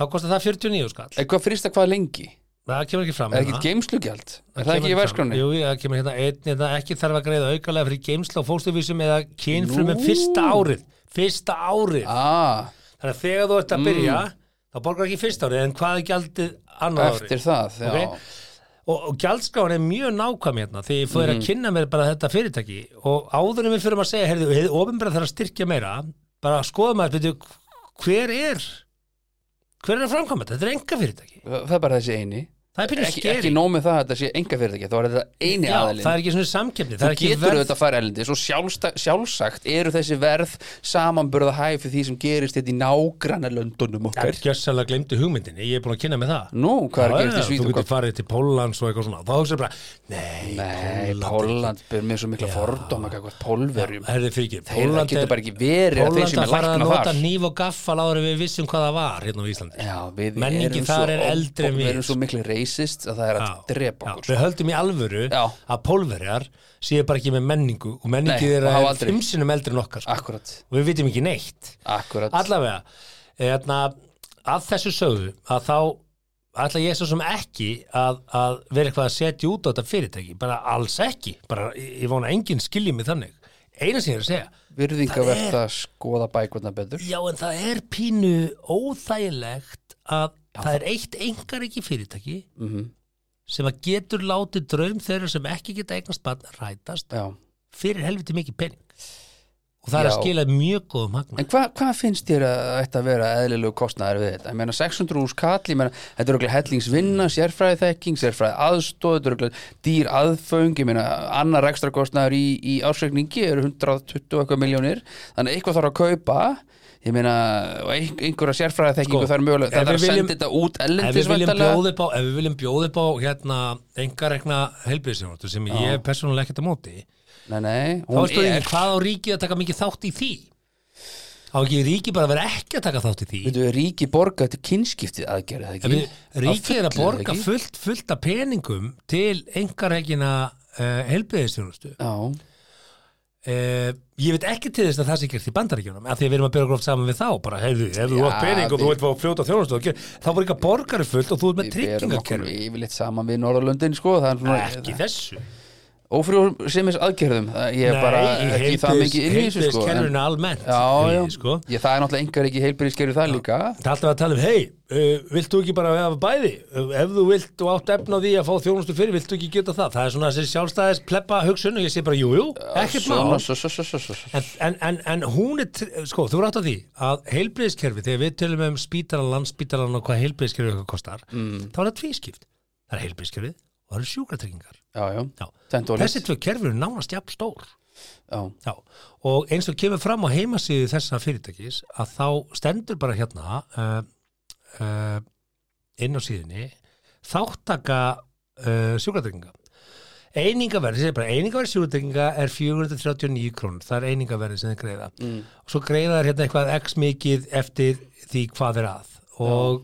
þá kostar það 49 skall Er hvað frista hvað lengi? það kemur ekki fram Er hérna. ekkert geimslugjald? Er það ekki í kemur fram. verskránni? Jú, það kemur hérna einn, hérna ekki þarf að greiða aukalega fyrir geimsla og fóstuvísum eða kynfrumum fyrsta árið fyrsta árið Ah, Mm. þannig að þegar þú ert að byrja þá borgar ekki fyrsta árið en hvað er gjaldið annað árið eftir það, já Ok. og, og gjaldskráin er mjög nákvæm hérna því ég Mhm. fóður að kynna mér bara þetta fyrirtæki og áður en við fyrir að segja heyrðu, hefði ofinbæra þarf að styrkja meira bara skoðum að byrju, hver er hver er að framkvæma þetta, þetta er enga fyrirtæki Það er bara þessi eini það er byrjuð Ekki, ekki nóg með það að þetta sé enga fyrirtæki þá er þetta eini Já, aðalinn það er ekki svona samkeppni þú það er ekki getur verð- auðvitað að fara erlendis og sjálfsta- sjálfsagt eru þessi verð samanburða hæg fyrir því sem gerist þetta í nágranna löndunum Það er okkar gjörsalega glemdi hugmyndinni, ég er búin að kynna með það Nú, hvað er Já, að gerast já, í Þú Svíþjóð? getur farið til Póllands og eitthvað svona Þá hugsaðu bara, nei, Nei, Pólland ber mér svo mikla fordóma hvað pólverjum herði fyrir ekki Þeir það getur bara ekki verið að Pólland þeir sem að er fara að lækna nota þar nýf og gaffal áður en við vissum hvað það var hérna á Íslandi Já, við Menningi erum þar svo, er eldri en við við, erum svo miklu racist að það er að Já, drepa já, okkur sko. Við höldum í alvöru Já. að pólverjar séu bara ekki með menningu og Nei, menningi og þeirra hafa er aldrei. fimsinum eldri en okkar sko. Akkurat, og við vitum ekki neitt akkurat Allavega, hérna, að þessu sögðu að þá ætla ég svo sem ekki að, að vera eitthvað að setja út á þetta fyrirtæki, bara alls ekki bara, ég, ég vona enginn skilji mig þannig eina sem ég er að segja, Virðingavert að skoða bækurna betur já en það er pínu óþægilegt að það er eitt engar ekki fyrirtæki Mhm. sem að getur látið draum þeirra sem ekki geta eignast barn rætast Já fyrir helviti mikið pening og það er að Já. skila mjög góðum hagna En hvað hva finnst þér að þetta vera eðlilegu kostnaðar við þetta? Ég meina 600 úr skall, ég meina þetta er okkur hellingsvinna, sérfræði þekking, sérfræði aðstóð, þetta er okkur dýr aðföng, ég meina annar ekstra kostnaður í, í ársreikningi eru 120 og eitthvað miljónir, þannig að eitthvað þarf að kaupa, ég meina og ein- einhverja sérfræði þekkingu Sko, þarf mögulega, ef það við þarf að viljum- senda þetta út ef við viljum ellendisvæntalega. bjóða upp á, ef við viljum bjóða upp á hérna, engarekna helbriðsjónvartu sem ég er persónulega ekkert á móti Nei, nei, þá hún er spurning er, hvað á ríkið að taka mikið þátt í því á ekki ríkið bara að vera ekki að taka þátt í því veitum við, ríki borga þetta kynskiptið aðgerði það Ef ekki? við, ríkið er Að að fullu, borga ekki? fullt, fullt af peningum til engarekina uh, helbriðsjónvartu Já, Uh, ég veit ekki til þess að það sé gert í bandaríkjunum af því að við erum að byrja gróft saman við þá bara heyrðu, ef þú Já, átt pening og við- þú ert að fljóta þjónustu og gera- þá voru eitthvað borgari fullt og þú ert með við erum okkur tryggingakerfi yfirleitt saman við Norðurlöndin sko, það er ekki svona þessu ófrjór sem aðgerðum það- ég er bara ekki það mikið inn í þessu sko en, heilbyrðiskerfinu almennt já, já, í, sko. ég, það er náttúrulega engar ekki heilbyrðiskerfi það líka Það er alltaf að tala um, hei, uh, viltu ekki bara hafa bæði? Uh, ef þú vilt og átt efna því að fá þjónustu fyrir, viltu ekki geta það? Það er svona þessi sjálfstæðis pleppa hugsun og ég sé bara, jú, jú, ekkert Svona, mál. svo, svo, svo, svo, svo, svo. En, en, en, en hún er, tr- sko, þú rátt á því að heilbriðiskerfi, þegar við tölum um spítalan, landspítalan og hvað heilbriðiskerfi okkar kostar, Mm. þá er það tvískipt. Það er heilbriðiskerfið og það eru sjúkratryggingar. já, já, Já. Tvennt ólíkt. Þessi tvö kerfi eru nánast jafn stór. já, Já, og eins og kemur fram á heimasíðu þessa fyrirtækis að þá stendur bara hérna uh, uh, inn á síðunni þáttaka uh, sjúkratrygginga. Einingaverði, segir bara, einingaverði sjúkratrygginga er 439 krónur, það er einingaverði sem þeir greiða. Mm. Og svo greiða þeir hérna eitthvað x mikið eftir því hvað er að. Og,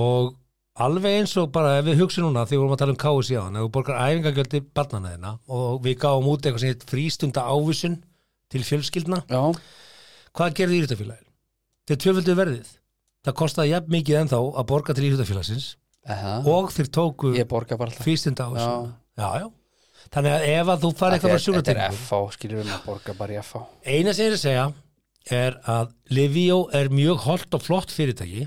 og alveg eins og bara ef við hugsa núna því við vorum að tala um káu síðan ef þú borgar æfingagöldi barnana þeirna og við gáum út eitthvað sem heit frístunda ávísun til fjölskyldna já, hvað gerði íhlutafélagin? þeir tvöföldu verðið það kostaði jafn mikið ennþá að borga til íhlutafélagsins eða og þeir tóku ég borga bara alltaf frístunda ávísun já. Já, þannig að ef að þú Af farið því eitthvað að frá sjúkratryggingu þetta er FH, skilur við maður borga bara í FH eina sem ég er að segja er að Livio er mjög holdt og flott fyrirtæki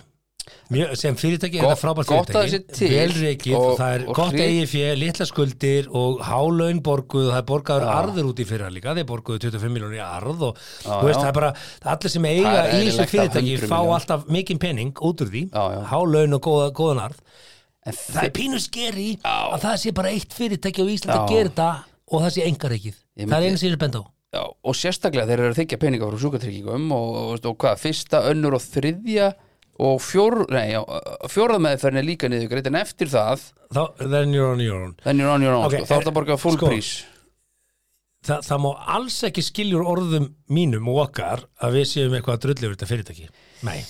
mjög, sem fyrirtæki er Gott- þetta frábært gott að fyrirtæki það sé til velreikið og, og- það er og gott hri- eigi fjö, litla skuldir og hálaun borguð og það er borgaður Já. arður út í fyrra líka þeir borguðu 25 miljónir í arð og Já, þú veist já. það er bara allir sem eiga Það er í þessu eðlilegt að fyrirtæki 100 fá milljón. alltaf mikinn penning út úr því Já, já. hálaun og góða, góðan arð en það þi- er pínu skeri að það sé bara eitt fyrirtæki á Íslandi að Já. gera þetta og það sé engareikið Ég það er myndi- einu sem ég er bend á já, og sérstaklega þeir eru að þykja peninga frá sjúkatryggingum og, og, og hvað, fyrsta, önnur og þriðja og fjór, nei, já, fjóraðmeðferðin er líka niður greitt en eftir það, Þá, then you're on your own then you're on your own Ok, okay, þá er eh, það borgað full sko. sko, prís Þa, það má alls ekki skiljur orðum mínum og okkar að við séum eitthvað að drullu yfir þetta fyrirtæki nei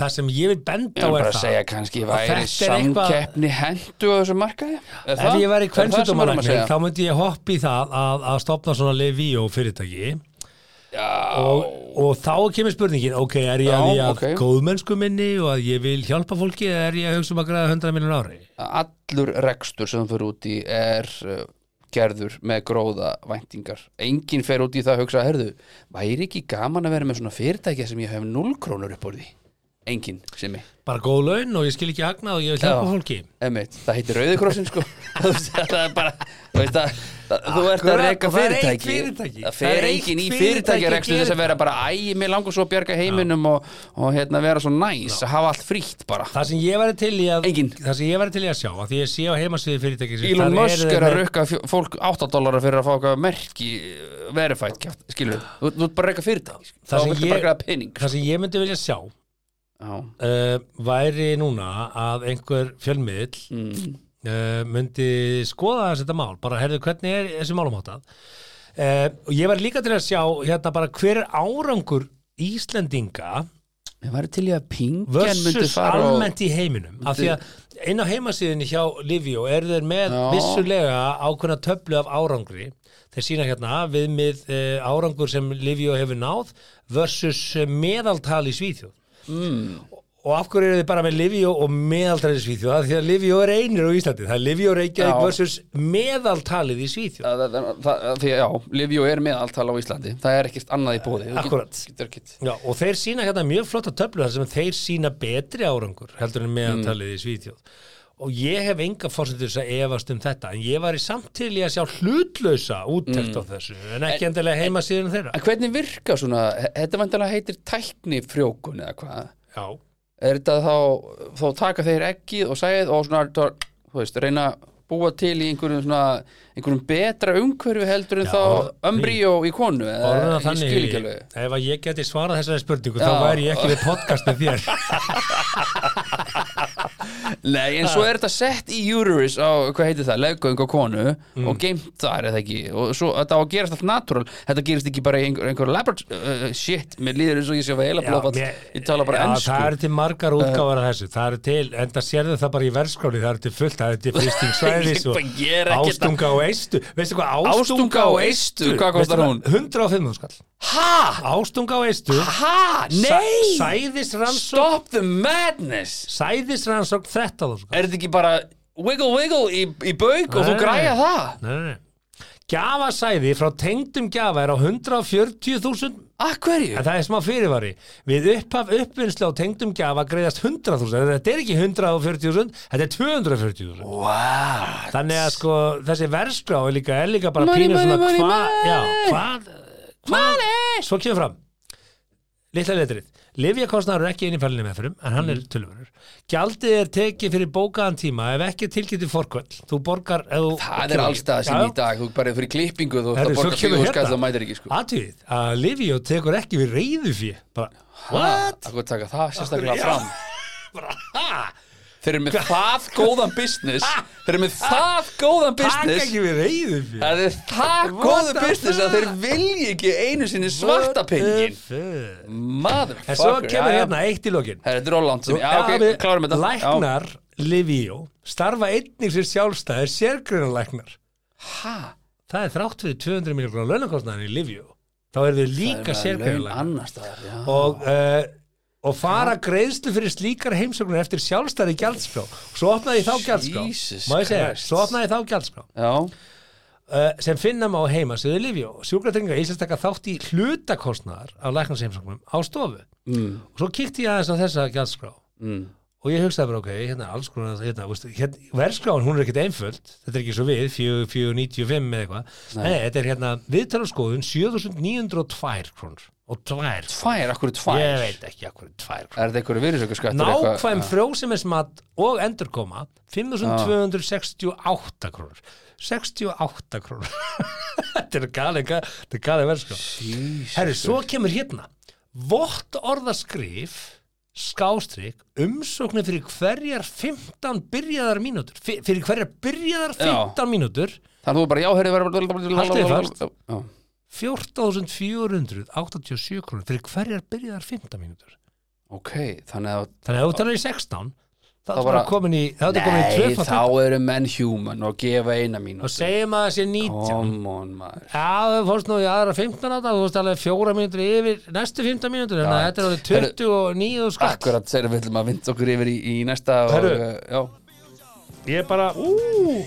það sem ég vil ég benda á er er bara að það segja kannski að væri þetta er eitthvað- samkeppni hendu á þessum markaði Er Ef það- ég væri er það sem við erum að kvensutumalæknir segja? þá myndi ég hoppa í það að, að stopna svona Levio fyrirtæki og, og þá kemur spurningin ok, er ég Já, að því að ok. góðmennsku minni og að ég vil hjálpa fólki eða er ég að hugsa um að græða 100 miljón ári allur rekstur sem þú fyrir út í er uh, gerður með gróða væntingar enginn fer út í það að hugsa, herðu væri ekki gaman að vera með svona fyrirtækja sem ég hef 0 krónur upp úr því enginn sem ég bara góð laun og ég skil ekki agnað og ég vil hjálpa Já. fólki Einmitt, það heitir Rauðikrossin sko Þú veist, það er bara þú veist, að, að, þú ert að Akkurat, reyka og það er eitt fyrirtæki fyrirtæki. það Það er fer eitt enginn í fyrirtæki fyrirtæki að rekstur þess gera að vera bara æ, mér langar svo að bjarga heiminum og, og hérna vera svo næs að hafa allt frítt bara það sem ég væri til í að Engin. það sem ég væri til í að sjá að því ég sé á heimasviði fyrirtæki Elon Musk er að rukka fjó- fólk 8 dólarar fyrir að fá eitthvað merki eh, verified, kjaft, skilur þú, þú ert bara að reyka fyrirtæki sko. þá Það sem viltu ég- bara greiða pening það sem ég myndi vilja sjá Já, uh, væri núna að einhver fjölmiðl mm. uh, myndi skoða aðeins þetta mál bara herðu hvernig er þessi málum háttað uh, og ég var líka til að sjá hérna bara hver er árangur Íslendinga Ég væri til í að pingjan myndi versus fara og- almennt í heiminum af því að inn á heimasíðinni hjá Livio eru þeir með Já. vissulega ákveðna töflu af árangri þeir sína hérna viðmið uh, árangur sem Livio hefur náð versus eh, meðaltal í Svíþjóð Mm. og af hverju eru þið bara með Livio og meðaltalið í Svíþjóð af því að Livio er einir á Íslandi það er Livio Reykjavík Já. versus meðaltalið í Svíþjóð Það, það, það, það, því, að, já, Livjó er meðaltal á Íslandi það er ekkert annað í bóði Akkúrat. Já, og þeir sína hérna mjög flotta töflu þar sem þeir sína betri árangur heldur en meðaltalið í Svíþjóð og ég hef enga fórsendur að efast um þetta en ég var í samtíli að sjá hlutlausa úttekt á þessu en ekki endilega heimasíðinu þeirra Mm. En hvernig virka svona, he- þetta vandalega heitir tæknifrjókun eða hvað Já, er þetta þá, þá taka þeir ekkið og sæð og svona þá, þú veist, reyna að búa til í einhverjum svona einhverjum betra umhverfi heldur en Já, orð- þá ömbri og í konu orðan eða að í þannig skilíkjölu ef að ég geti svarað þessari spurningu Já. þá væri ég ekki við podcastið þér Nei, en svo er þetta sett í Uterus á, hvað heitir það, leggöng á konu Mm. og geimt þar eða ekki og svo þetta á að gerast allt natúral þetta gerist ekki bara í einhver, einhver labrat uh, shit, mér líður eins og ég sé að heila blófað mér- ég tala bara Eh. Já, ennsku Það eru til margar útgáfar af þessu Það eru til, enda sérðu það bara í verðskráni Það eru til fullt, það eru til fristing svæðis og Ég er ekki Ástunga og eistu Veistu hvað, Ástunga ástunga og og eistu eistu, hvað Veistu kostar hún? 105 skall Ha? Ástunga og eistu Ha? Nei! Sæðisrannsók Stop the madness! Sæðisrannsók 13 skall Er þetta ekki bara wiggle wiggle í, í bauk og þú Nei. græja það? Nei, nei, nei Gjafasæði frá tengdum gjafa er á 140.000 Að hverju? En það er smá fyrirvari. Við upphaf uppvinnslu á tengdum gjafa greiðast 100.000. Þetta er ekki 140.000, þetta er 240.000. Wow! Þannig að sko, þessi verskrá er líka, er líka bara Money, pínu money, svona money, hva, money. já, hvað, hvað, svo kemur fram. Litla letrið. Livjakostnaður er ekki inn í fælinni meðferðum, en hann Mhm. er tölvörur. Gjaldið er tekið fyrir bókaðan tíma ef ekki tilkynntið forkvöld. Þú borgar... Ef, þú- Það er allstað sem Já, já. í dag, þú bara fyrir klippingu þú ert Herru, að svo borga kemur fyrir og skall hérna og mætir ekki sko. Atvið, að Livjó tekur ekki við reyðu fyrir bara, what? Akkur taka það sérstaklega fram Bara, ha? Þeir eru með það góðan business Þeir eru með það góðan Taka business Ah. ekki við reyðu fyrir Það er það What góðan the business að fuck? þeir vilji ekki einu sinni svarta pengin En svo Motherfucker kemur jæja. hérna eitt í lokin Herra, Þetta er ólant sem Já, Já, ok, við- klárum þetta Já. Læknar Livio starfa einnig sér sjálfstæðir sérgrunalæknar Ha? Það er þrátt fyrir 200 miljónar launakostnaðin í Livio Þá eru þau líka Það er laun sérgrunalæknar annars staðar já. og, uh, og fara greiðslu fyrir slíkar heimsóknir eftir sjálfstæði gjaldskrá Svo opnaði ég þá gjaldskrá Jesus Má ég segja, Christ. svo opnaði ég þá gjaldskrá já, uh, sem finna má heima söðu Livjó. Sjúkratrygginga Íslands taka þátt í hlutakostnaðar af læknaseimsóknum á stofu. Mm. Og svo kíkti ég aðeins á þessa gjaldskrá. Mm. Og ég hugsaði bara, ok, hérna alls konar, hérna, veist, hérna, verskráin, hún er ekkit einföld, þetta er ekki svo við, 495 eða eitthvað. Nei, þetta er hérna viðtalarskoðun 7902 krónur. og tvær Tvær, akkur tvær ég veit ekki akkur tvær Er þetta einhverju virðisaukaskattur nákvæm eitthvað? frjósemismat og endurkoma 5268 krónur 68 krónur þetta er galið ga- þetta er galið verð sko Jesus. herri, svo kemur hérna vott orðaskrif skástrík umsóknir fyrir hverjar 15 byrjaðar mínútur Fi- fyrir hverjar byrjaðar 15 mínútur Þannig að þú bara, já, herri Haldið þið fast? verður 14.487 krónur fyrir hverjar byrjaðar 15 mínútur Ok, þannig að Þannig að þú talar í 16 þá Þá er bara bara- komin í þá ertu komin í Nei, tvöfalt þá eru menn human og gefa eina og mínútu segjum að það sé 19 Come on, maður Já, þú fórst nú í aðra 15 átta þú fórst alveg fjóra mínútur yfir næstu 15 mínútur en Já. þetta er orðið 29 og skatt Akkurat, þegar við ætlum að vinda okkur yfir í, í næsta og, Herru. uh, já, Ég er bara, ú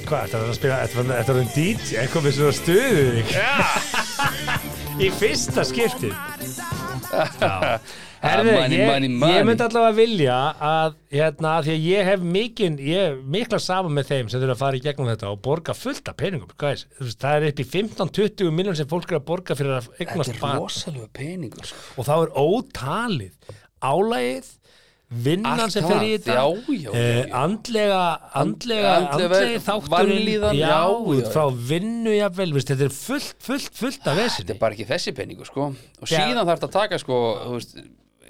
Hvað, þetta er að spila, þetta er- þetta er orðið DJ komið sér að stuðu þig Í fyrsta skiptið Herðu, Ah, money, ég, money, money. ég myndi allavega vilja að, hérna, að því að ég hef mikinn, ég hef mikla saman með þeim sem þurfa að fara í gegnum þetta og borga fullt af peningum, guys, Þú veist, það er upp í 15-20 miljón sem fólk er að borga fyrir að Þetta eignast er barn rosalega peningur sko. og þá er ótalið álægið, vinnan Allt sem fer í það, þetta já, já, já, eh, já. andlega, andlega, Andlega- andlega þátturinn vanlíðan, já, já, já, já. frá vinnu jafnvel, veist, þetta er fullt, fullt, fullt af Þetta vesinni er bara ekki þessi peningur, sko Og Já. síðan þarf þetta að taka, sko þú veist,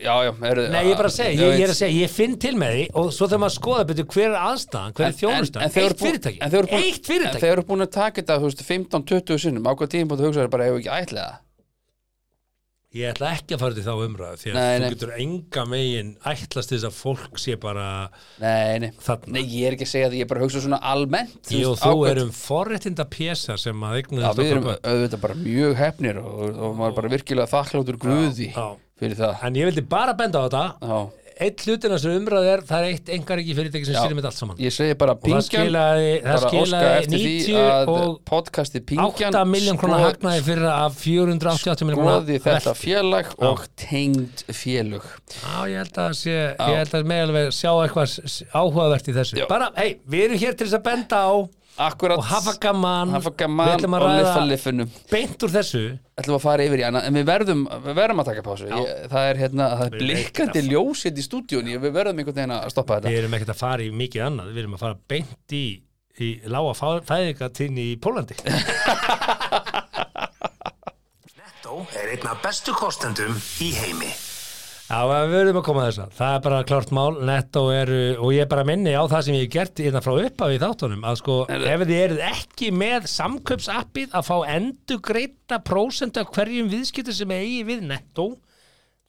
Já, já, er, Nei, ég er bara að segja, ég, ég er að segja, ég finn til með því og svo þarf maður að skoða betur hver er aðstæðan, hver er þjónustan, en, en eitt fyrirtæki, en þeir eru búin, eitt fyrirtæki. En þeir eru búin að taka þetta, þú veist, 15-20 sinnum Á hvað tíðum búin að hugsa þér bara, hefur ekki ætlaði það Ég ætla ekki að fara til þá umræðu því að Nei, þú nei. getur enga megin ætlast til þess að fólk sé bara Nei, nei, Þarna. nei, ég er ekki að segja það, ég er bara að hugsa svona almennt þú ég og veist, á þú hvað- erum forréttinda pésar sem að Já, eignuðist við okkur erum börn. auðvitað bara mjög hefnir og, og maður bara virkilega þakkláttur Guði já. fyrir það En ég vildi bara benda á þetta Já, Eitt hlutin að þessu umræðu er, það er eitt engar ekki fyrirtæki sem Já. styrir með allt saman ég segi bara Og það pingjan skilaði, það bara óska skilaði eftir því 90 að og podcasti pingjan 8 miljón krónar skoð- hagnaði fyrir af 488 miljón skoði krónar þetta félag og tengd félög Já, ég held að sé, ég held að með alveg sjá eitthvað s- s- áhugavert í þessu. Já. Bara, hei, við erum hér til þess að benda á Akkurat og hafa gaman. hafa Við gaman ætlum að og lifa ræða lifunum beint úr þessu. ætlum að fara yfir í annað en við verðum, við verðum að taka pásu ég, það er hérna, það er Við veitum blikkandi ljósitt í stúdíunni við verðum einhvern veginn að stoppa þetta Við erum ekkert að fara í mikið annað, við erum að fara beint í, í lága fæðingatinn í Pólandi. Netto er einn af bestu kostendum í heimi. Já, við verðum að koma að þessa. Það er bara klárt mál, netto eru, og ég bara minni á það sem ég hef gert innan frá uppafi í þáttunum, að sko, ef þið eruð ekki með samkaupsappið að fá endugreita prósentu af hverjum viðskiptu sem eigi við netto,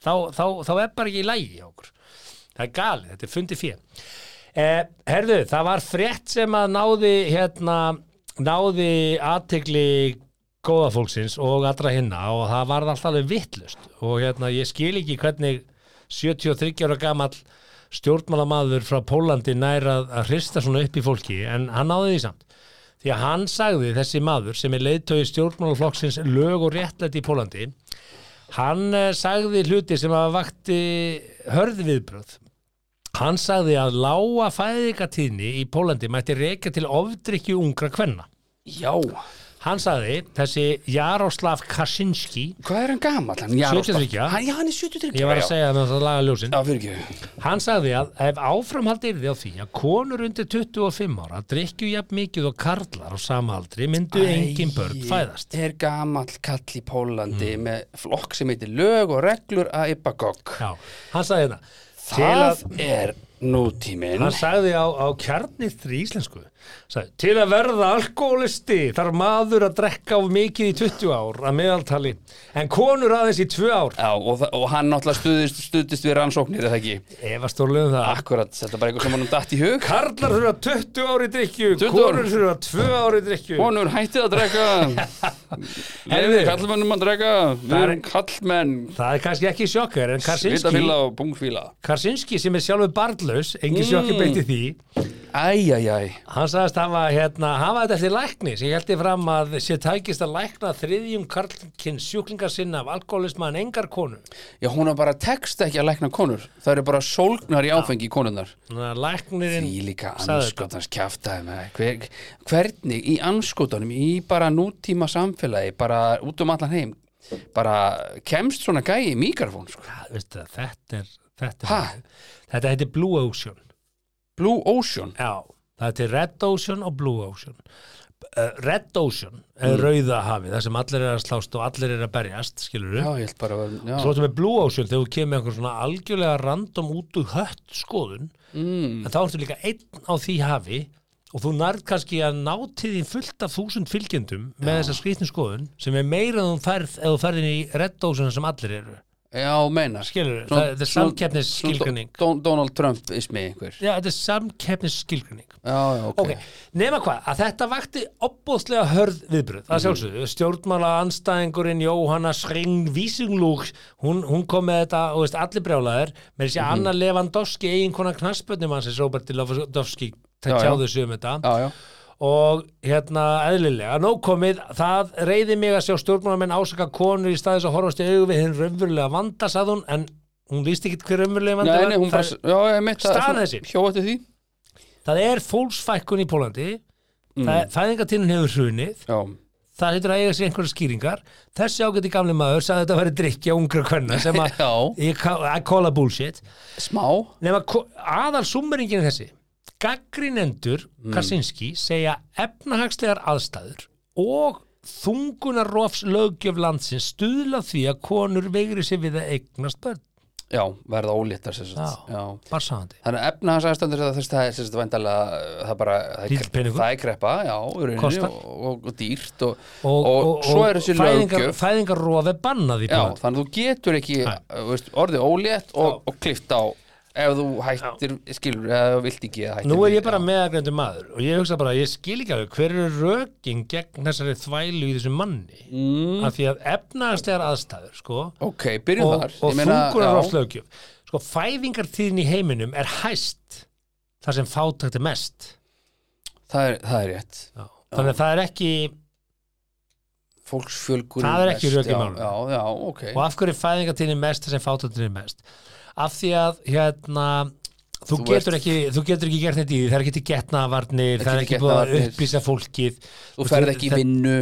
þá, þá, þá er bara ekki í lægi hjá okkur. Það er galið, þetta er fundið fyrir. Eh, herðu, það var frétt sem að náði, hérna, náði aðtegli góða fólksins og allra hinna og það varð alltaf alveg vittlust og hérna, ég skil ekki hvernig 73 ára gamall stjórnmálamaður frá Pólandi nær að, að hrista svona upp í fólki en hann náði því samt því að hann sagði þessi maður sem er leiðtögi stjórnmálaflokksins lög og réttlæti í Pólandi Hann eh, sagði hluti sem að vakti hörð viðbröð. Hann sagði að lága fæðingatíðni í Pólandi mætti reka til ofdrykju ungra kvenna. já, Hann sagði, þessi Jaroslav Kaczynski, hvað er hann gamall? Hann, Jaroslav? 73. Hann- já, hann er 73 ég var já. að segja það með það laga ljósin, Já, fyrir ekki. hann sagði að ef áframhaldi yrði á því að konur undir 25 ára drykju jafn mikið og karlar á sama aldri myndu engin börn fæðast. Mm. Er gamall kall í Pólandi með flokk sem heitir lög og reglur að Ibagog. Já, hann sagði þetta. Til að- Það er nútíminn. Hann sagði á, á kjarnirtri íslensku sagði, Til að verða alkoholisti þarf maður að drekka of mikið í 20 ár að meðaltali en konur aðeins í 2 ár Já, og, það- og hann náttúrulega stuðist, stuðist við rannsóknir, eða ekki? Ef að stórlega um það Akkurat, þetta er bara eitthvað sem hann datt í hug. Karlar þurfa 20 ár í drikju 20 ár. konur þurfa 2 ár í drikju Konur hættið að drekka, Herðu. lefið kallmennum að drekka, við Það er- erum kallmenn, Það er kannski ekki sjokkar en Karsinski, vitafíla og bungfíla. Karsinski sem er sjálfur barnlaus Mm. engin sjokkar beitti því Æj, æj, æj. Hann sagðist hafa, hérna, hafa þetta eftir lækni sem heldur fram að sér tækist að lækna þriðjum karlkinn sjúklingar sinna af alkoholisma en engar konu. Já, hún har bara tekst ekki að lækna konur. Það eru bara sólgnar í áfengi konurnar. Þannig að Læknirinn Því líka sagði anskotans kjaftaði með hver, hvernig í anskotanum í bara nútíma samfélagi bara út um allan heim bara kemst svona gæi í mikrofón sko. Ja, veistu það, þetta er þetta, Ha? er, þetta heitir Blue Ocean Blue Ocean Já, það er til Red Ocean og Blue Ocean uh, Red Ocean er Mm. rauða hafið, það sem allir er að slást og allir er að berjast, skilur já, við ég held bara að vera- Svo já. þetta með Blue Ocean, þegar þú kemur með einhver svona algjörlega random út úr hött skoðun Mm, en þá ertu líka einn á því hafi og þú nærð kannski að ná til því fullt af þúsund fylgjendum með þessa skrýtni skoðun sem er meira en þú færð ef þú færðin í Red Ocean sem allir eru já, meinar Skilur, Svona- það þetta er svona- samkeppnisskilgreining svona Don- Donald Trump ismi einhver já, Já, þetta er samkeppnisskilgreining já, ok, Ok, nema hvað, að þetta vakti opbóðslega hörð viðbröð, Mhm. það sjálfsögðu, stjórnmála anstæðingurinn Jóhanna Sring Vísinglúk, hún, hún kom með þetta, og veist, allir brjálaðir, með þessi mm Mhm. -hmm. Anna Lewandowski, eiginkona knassbönnum hans, Robert Lewandowski, Já, já. tjáðu sig um þetta, já, já og hérna, eðlilega, nóg komið, það reyði mig að sjá stjórnmálamenn ásaka konur í staðis að horfast í augu við hinn raunverulega vanda, sað hún, en hún líst ekki hver raunverulega vanda Nei, var. nei, hún bara, það, já, ég mitt Staðan þessi. Hjóðið því það er fólksfækkun í Pólandi, mm. það, fæðingatinn hefur hrunið, Já, það heitur að eiga sér einhverja skýringar þessi ágæti gamli maður sagði að þetta væri drikkja ungra kvenna sem að Já. ég ka- I call a bullshit smá nema ko- aðal summeringin er þessi gaggrinendur Mm. Kaczynski segja efnahagslegar aðstæður og þungunarrofs löggjöf landsins stuðla því að konur veigri sér við að eignast börn Já, verða óléttar sér satt Já. Já bara sagandi Þannig að efnahagsæstandur það þess að það er sérst væntalega uh, það bara, það Lítill er, peningur. það er kreppa, já, í rauninni Kostar. og, og, og dýrt og, og, svo er þessi fæðingar, löggjöf fæðingarrof er bannað í Já, bland þannig að þú getur ekki uh, veist, orðið ólétt og, og klift á ef þú hættir, skilur, eða þú vilt ekki eða hættir Nú er ég við, bara já. meðagrendu maður og ég hugsa bara, ég skil ekki alveg hver eru rökin gegn þessari þvælu í þessum manni mm. af því að efnaðarslegar aðstæður sko, Ok, byrjum og, þar og Ég meina, já, þungunaráslögjöf sko, fæðingartíðin í heiminum er hæst þar sem fátækt er mest það, er, það er rétt já. þannig að það er ekki Fólksfjölgur Það er ekki mest, rök í já, málinu. Já, já, ok og af hverju er fæðingartíðin er mest þar sem fátæktin er mest af því að hérna Þú, Þú getur ert- ekki, þú getur ekki gert neitt í því, það er ekki til getnavarnir, það er ekki ekki búið að getnaðarvarnir. upplýsa fólkið. Þú ferð ekki í vinnu,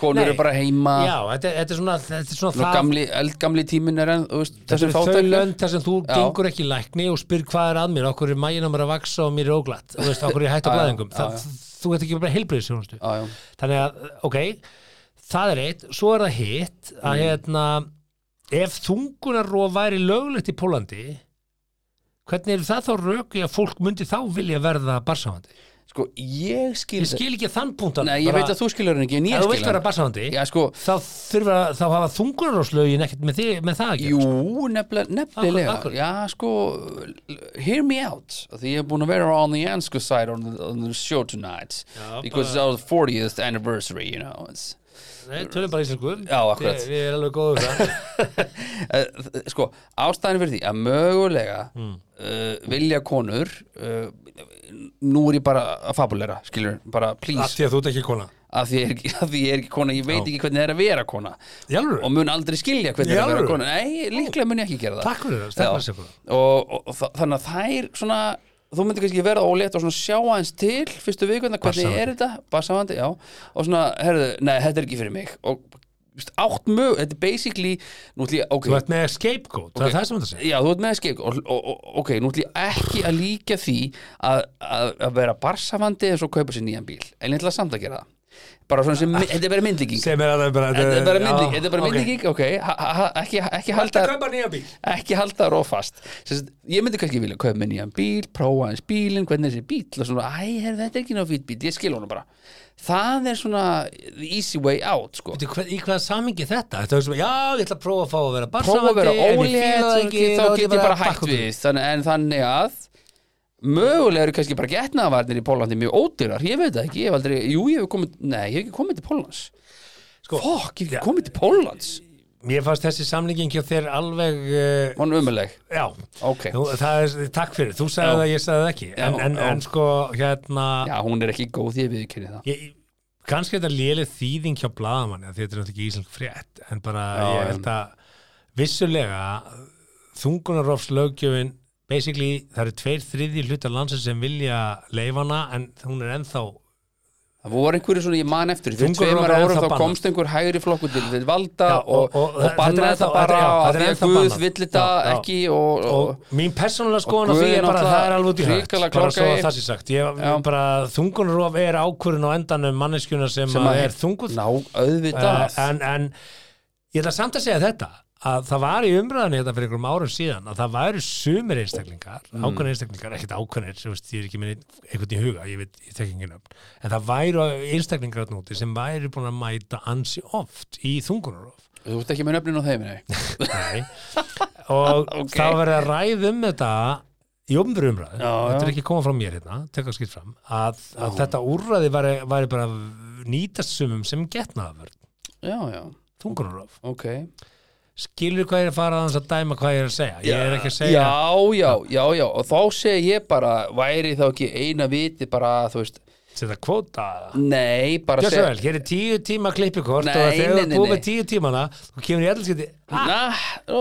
konur Nei. eru bara heima Já, þetta, er- þetta er svona, þetta er svona Nú, það gamli, eldgamli tíminn er enn þú veist, Þetta þessum eru þau fátæklu lönd þar sem þú Já. gengur ekki í lækni og spyr hvað er að mér, okkur er maginn á mér að vaksa og mér er óglatt, þú veist, okkur er ég hætt á Já, já, blæðingum já, það, þú ert ekki bara heilbrið sjónustu Já, já. þannig að, ok það er eitt, svo er það hitt Mm. að hérna, ef þungunarof væri löglegt í Pólandi hvernig er það þá röku að fólk myndi þá vilja verða barsáhandi? Sko, ég skil Ég skil ekki þann punkt Nei, ég veit að þú skilur hann ekki, en ef ég þú skil vilt hann vera barsáhandi Já, sko, þá þurfa, þá hafa þungunarofslögin ekkert með, þig- með það að gera jú, nefnilega, nefnilega Af hverju- Já, sko, l- hear me out af Því ég hef búin að vera on the ansku side on the, on the show tonight Já, Because it's our 40th anniversary, you know it's, Nei, tölum bara íslensku Já, akkurat. Við, við erum alveg góður það Eh, þ- sko, ástæðan fyrir því að mögulega Mm. uh, vilja konur uh, nú er ég bara að fabulera skilur, bara Af please því að þú ert ekki kona að því, ég er, ekki- af því ég er ekki kona, ég veit ekki hvernig það er að vera kona Í alvöru? og mun aldrei skilja hvernig það er að vera alvöru? kona nei, líklega mun ég ekki gera það Takk fyrir það, Já. stakk fyrir sig og, og, og þa- þannig að þær svona þú myndir kannski vera ólétt og svona sjá aðeins til fyrstu vikuna, hvernig Barnshafandi. er þetta basáhandi, já, og svona, herðu nei, þetta er ekki fyrir mig og veist, átt mög, þetta er basically nú ætlum ég, ok, Þú ert með scapegoat, það er það sem þetta segir Já, þú ert með skeik og, og, og, ok, nú ætlum ég ekki að líka því að, að, að vera barsafandi eins og kaupa sér nýjan bíl en ég ætla samt að gera það bara svona sem, þetta er bara myndlíking Sem er að það er bara þetta er bara myndlíking, þetta er bara myndlíking ok, ha, ha, ha, ekki, ekki halda kaupa nýja bíl ekki halda rófast Sest, ég myndi kannski vilja kaupa mér nýjan bíl prófa hans bílinn, hvernig er þessi bíl og svona, æ, herr, þetta er ekki náðu fýtt bíl, ég skil honum bara það er svona the easy way out, sko Í hvað, í hvaða samingi þetta? Þetta er sem, já, ég ætla að prófa að fá að vera prófa barsamandi að vera ólétt þá get ég bara hætt við þannig, en þannig að mögulega eru kannski bara getnaðvarnir í Pólandi mjög ódýrar, ég veit það ekki ég hef aldrei, jú ég hef komið, nei ég hef ekki komið til Pólans Sko, fokk, ég hef ja. ekki komið til Pólans Mér fannst þessi samlingin hjá þér alveg uh, hann umuleg, Já, ok Nú, það er, takk fyrir, þú sagði Já. það, ég sagði það ekki En, Já, en, já. en sko, hérna já, hún er ekki góð því að við kynni það ég, kannski þetta léleg þýðing hjá blaðamanni af því þetta er náttúrulega ekki íslensk frétt en bara Já, ég held að vissulega þungunarofslöggjöfin basically það eru tveir þriði hluta landsins sem vilja leifana en hún er ennþá það voru einhverju svona, ég man eftir fyrir Þungur tveimur var árum ennþá þá bannað. komst einhver hægri flokkur til til valda Já, og- og, og og, þetta er bannaði ennþá- það bara þetta- já, þetta að er því að ennþá Guð bannað. vill þetta Já, já. ekki og, og, og mín persónulega skoðan Og af því Guð er bara að það er náttúrulega alveg út í hött hrikalega bara svo klókari. að það sé sagt ég, Já. bara þungunarof er ákvörðin á endanum manneskjuna sem, sem að- er þunguð ná, Eh, auðvitað en, en ég ætla samt að segja þetta að það var í umræðan þetta fyrir einhverjum árum síðan að það væru sumir einstaklingar mm. ákveðnir einstaklingar, ekkert ákveðnir þú veist, ég er ekki minni einhvern í huga ég veit, ég tek ekki nöfn en það væru einstaklingar að núti sem væri búin að mæta ansi oft í þungunarof þú ert ekki með nöfnin á þeim nei. Nei. og Ok. þá verður að ræða um þetta í ofnveru umræðu, Já, þetta er já. ekki koma frá mér hérna tek að skipt fram, að, að þetta úrræði væri, væri bara að nýtast sumum sem getnaðavörn, já, já, þungunarof ok skilur hvað ég er að fara aðeins að dæma hvað ég er að segja ég er ekki að segja já, já, já, já, og þá segi ég bara væri þá ekki eina viti bara, þú veist, setja kvóta nei, bara Gjörðu svo vel, hér er tíu tíma klippikort Nei, og þegar nei, þú nei, er búið nei. með tíu tímana þú kemur í allarskipti na,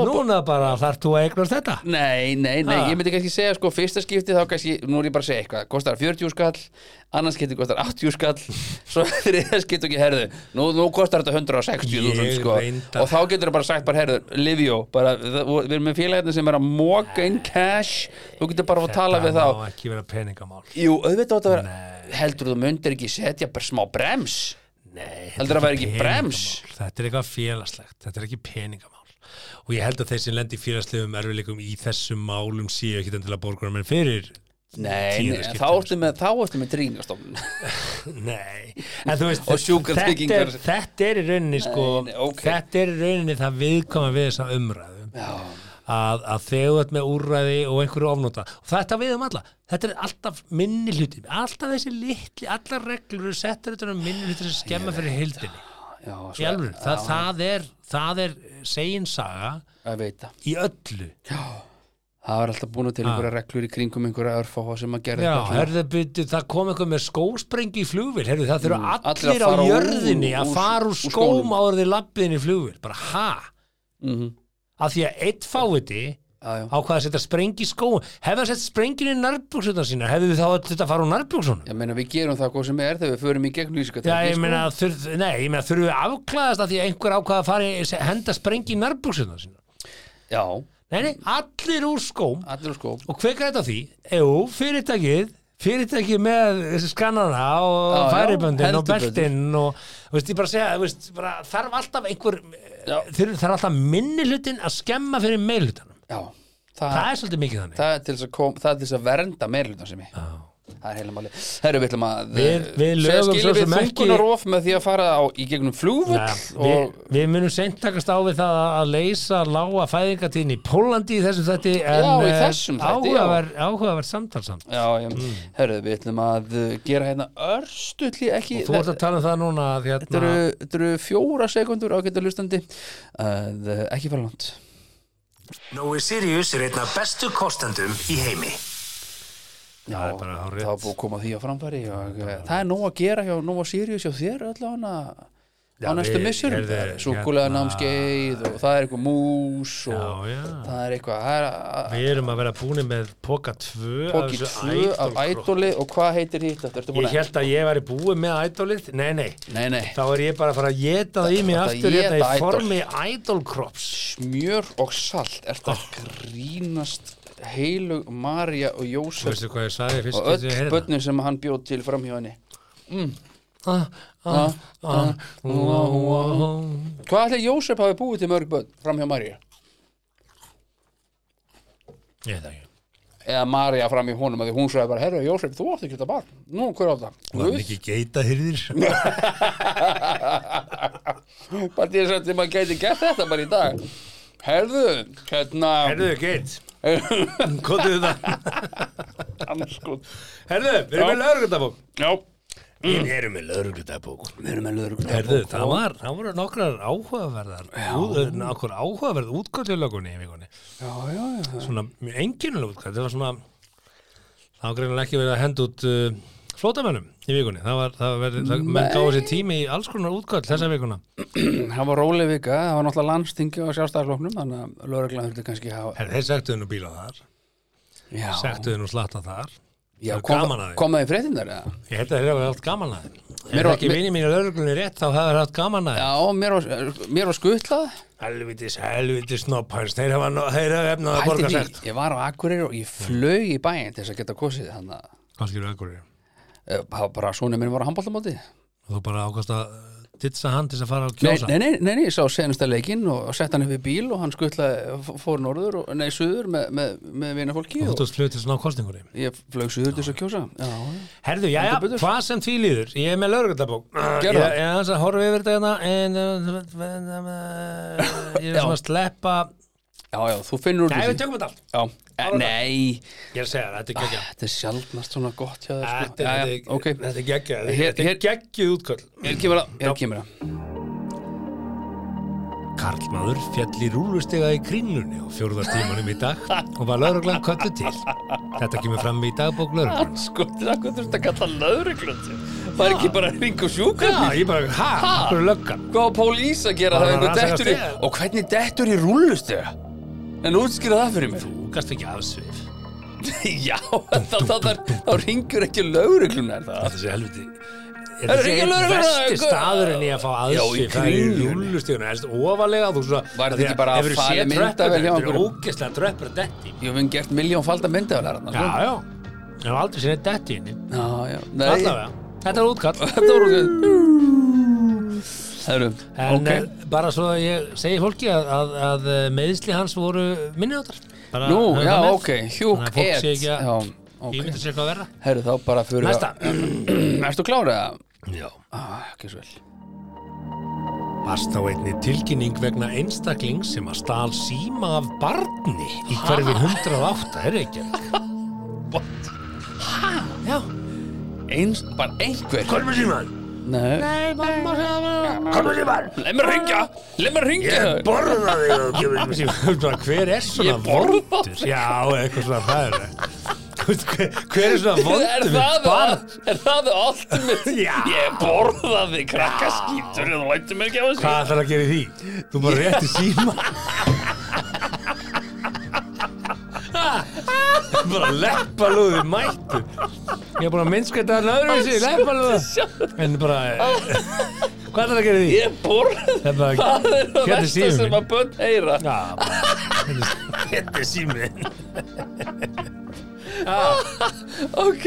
núna bara þarf þú að eignast þetta Nei, nei, nei, Ha? ég myndi kannski segja sko fyrsta skipti þá kannski, nú er ég bara að segja eitthvað kostar 40 skall, annars skipti kostar 80 skall, svo þriða skipti ekki herðu, nú, nú kostar þetta 160 Ég sko, reyndar- og þá getur það bara sagt bara herðu, Livio, bara það- og við erum með félagarnir sem er að móka inn cash þú getur bara að tala við það þá má ekki vera peningamál Jú, auðvitað átt að vera heldur þú myndir ekki setja bara smá brems Nei, þetta Heldur að væri ekki peningamál. brems? Þetta er eitthvað félagslegt, þetta er ekki peningamál og ég held að þeir sem lendi félagslegum erfileikum í þessum málum séu ekki endilega borgurum en fyrir Nei, Tíunda nei skipti, þá ertu með, þá ertu með tryggingastofnun Nei, en þú veist Og þetta sjúkratryggingar. er, þetta er í rauninni sko, nei, ok. þetta er í rauninni það viðkoma við þessa umræðu Já, að, að þegar þú ert með úrræði og einhverju ofnóta og þetta við um alla, þetta er alltaf minni hluti, alltaf þessi litli allar reglur eru settar þetta um minni hluti sem skemma fyrir hildinni, já, í alveg það, það er, það er segin saga að veita í öllu Það var alltaf búin til einhverja reglur í kringum einhverja örfáha sem að gera Já, eitthvað svona. Mm, herðu, byrju, það kom eitthvað með skósprengi í flugvél, herðu, það þurfa allir að allir á fara úr- jörðinni að úr- fara úr úr skónum. skóm áður því labbiðin í flugvél, bara ha Mhm. að því að eitt fáviti Já, já. ákvað að setja sprengi í skóum hefði að setja sprengin í nærbjúksunar sína hefðu þið þá að þetta fara úr nærbjúksunum Ég meina við gerum það hvað sem er þegar við förum í gegn Já, lýsingatæki ég meina, þurf, nei, ég meina þurfum við afklæðast að því að einhver ákvað að fara í- henda sprengi í nærbjúksunar sína sko. Já, sko. Nei, nei, allir úr skóm allir á skó og hver græta því? Jú, fyrirtækið fyrirtækið með skannana og Já, já, færiböndin og heldur betur. beltin og veist, ég bara segja, veist, bara, þarf alltaf einhver Já. þurf, þarf alltaf minni hlutin að skemma fyrir meilhutanum, Já, það, það er svolítið mikið þannig það er til þess að, kom, það er til þess að vernda meirlutan sem ég Það er heila máli Herru, við ætlum að eh, Við- við segja lögum skilið svo sem við ekki- þungunarof með því að fara á, í gegnum flugvöll Nei, og við, við munum seint takast á við það að leysa lága fæðingatíðin í Pólandi í þessum þætti en Já, í eh, þessum þætti, já. áhugaverð, áhugaverð samtalsamt Já, já, Mm. herru, við ætlum að uh, gera hérna örstutli ekki Þú ert að tala um það núna að Þetta hérna, eru- þetta eru fjóra sekundur ágættu hlustandi að uh, ekki fara langt Nói Sirius er einn af bestu kostendum í heimi. Já, Það er bara hárrétt. það var búið að koma því á framfæri og eh, það er nóg að gera hjá nóg að Sirius hjá þér öll á hana á Já, næstu við- missurum, heyrðu, súkulega hérna- námskeið og það er eitthvað mús Já, og já. það er eitthvað það er að- við erum að vera búin með Poka 2 af póki þessu tvö af Idol-krokki. ædoli og hvað heitir hitt þetta, ertu búin Ég held að ég væri búið með ædolið Nei, nei, Nei, nei, þá er ég bara að fara að geta það í mig Þetta aftur éta hérna í Idol. formi ædolkrops smjör og salt er þetta grínast heilug Marja og Þú Jósef veistu hvað ég sagði fyrst og að ég hérna? öll heyrði börnum sem hann bjóð til framhjá henni Mm. Ah. það? Hvað ætli Jósef hafi búið til mörg börn framhjá Marja? Ég veit það ekki eða Marja fram í honum að því hún sagði bara, herra Jósef, þú átt ekki þetta barn nú, hver á það? Var Guð, mikið geita hyrðir bara því að sem maður gæti gert þetta bara í dag herðu, hérna Herðu, geit Kóttu þetta sko, Herðu, við erum með lögreglutabók já, Mm. Við erum með lögreglutabók við erum með löður Herðu, það var, það voru nokkrar áhugaverðar út- Nokkur áhugaverð útkvöldjulögunni í vikunni já, já, já, svona mjög einkennilega útkvæð það var svona það var greinilega ekki verið að henda út uh, flótamönnum í vikunni það var, það var verið, það, menn gáði sér tími í alls konar útkvæð þessa vikuna það var róleg vika það var náttúrulega landstingi og sjálfstæðarsloknum þannig að lögreglan þurfti kannski að hafa Her, þeir sektuðu nú bíla þar já, sektuðu nú slatta þar Já, er kom, gaman að því. kom það í fréttindar eða? Ég held að þeir hafa haft gaman að þeim Mér Ef var- ekki mér- vinið mínu lögreglunni rétt þá hafa þeir haft gaman að þeim Já, mér var, mér var skutlað Helvitis, helvitis snoppans Þeir hafa, no- þeir hafa efnað að Pældi borga því, segt ég var á Akureyri og ég flög í bæinn til þess að geta kosið hann að Hvað skilur akkur er? eh, bara- bara svona minn var á handbóltamóti Þú bara ákast að ditsa hann til þess að fara að nei, kjósa nei, nei, nei, nei, ég sá senasta leikinn og sett hann upp í bíl og hann skutlaði f- fór norður, og, nei, suður með, með, með vinafólki Þú og tókst flöð til þess að ná kostningunni ég flög suður til þess að kjósa Já, Herðu, já, já, Heldur betur. hvað sem því líður Ég er með lögreglunabók Ég Gerðu það. ég er aðeins að horfa yfir þetta hérna en, eh, Ég er Já. svona að sleppa já, já þú finnur úr Nei, við þessu tökum þetta allt Já, eh, Nei, Ég er að segja það, þetta er geggja þetta er sjaldnast svona gott hjá þér sko. Þetta er- Já, já, þetta er- ok. þetta er geggja Hér- Þetta er hér- geggjuð útköll Hér kemur það, hér kemur það Karlmaður fjall í rúlustega í kringlunni á fjórðastímanum í dag og var lauruglan kvöldu til. Þetta kemur fram í dagbók lauruglan. Sko, þetta er akkur þurft að kalla löðruglönd Það er ekki bara að ringa og sjúka Já, ég bara, ha, Ha? hvað er löggan? Hvað á pólís að gera Bara það einhver rannsaka dettur í stöðu. Og hvernig dettur í rúlustega? En útskýra það fyrir mér Þú gast ekki afsvif. Já, þá, þá, þá, þá ringur ekki lögregluna er það Þetta sé helviti. Er Þetta sé ekki einn lögreglan- versti hvað- staðurinn í að fá Já, í aðsvif. Það er í Kringlunni. rúlustegunum, eða þú veist, ofalega þú svona... Var þetta ekki bara að Hefurðu falið séð tröppurnar? Þetta myndavél hjá er einhverjum? ógeðslega tröppur að detti. Ég hef enn gert miljón falda myndi af lærarna Já, já. Ég hef aldrei séð neitt detti inni. já, já Nei, Allavega. Þetta er útkall. Þetta voru Herru, En ok okay. bara svo að ég segi fólki að, að, að meðsli hans voru minnjóttar. Nú, já, ok, Þannig hjúk að fólk et sé ekki að- Já, Okay. Ég ok myndi sér hvað verða. Herru, þá bara fyrir Næsta. Erstu klárið það? Já. Ah, ekki svo vel Varst á einni tilkynning vegna einstakling sem að stál síma af barni í hverfi 108, er ekki? Já. Eins, bara einhver Hvað er með síman? Nei, Nei, mamma sagði það. Hvað er með síman? leið mér ringja Leið mér ringja borða þig og kemur með síman. Hver er svona Ég borða vondur? Já, eitthvað svona hræðilegt. Hver, hver er svona Er vondur það, með barn? er það ultimate? Já. Ég borðaði krakkaskítur og þú lætti mér ekki á þessu Hvað þarf að gera í því? Þú bara rétti síma bara leppalúði mættu Ég er búin að minnska þetta að öðruvísi leppalúða En bara eh, Hvað þarf að gera í því? Ég borðaði Það er bara Það Hérna er er það versta síminn sem minn. að bönn heyra Já, bara, Þetta er síminn Ok,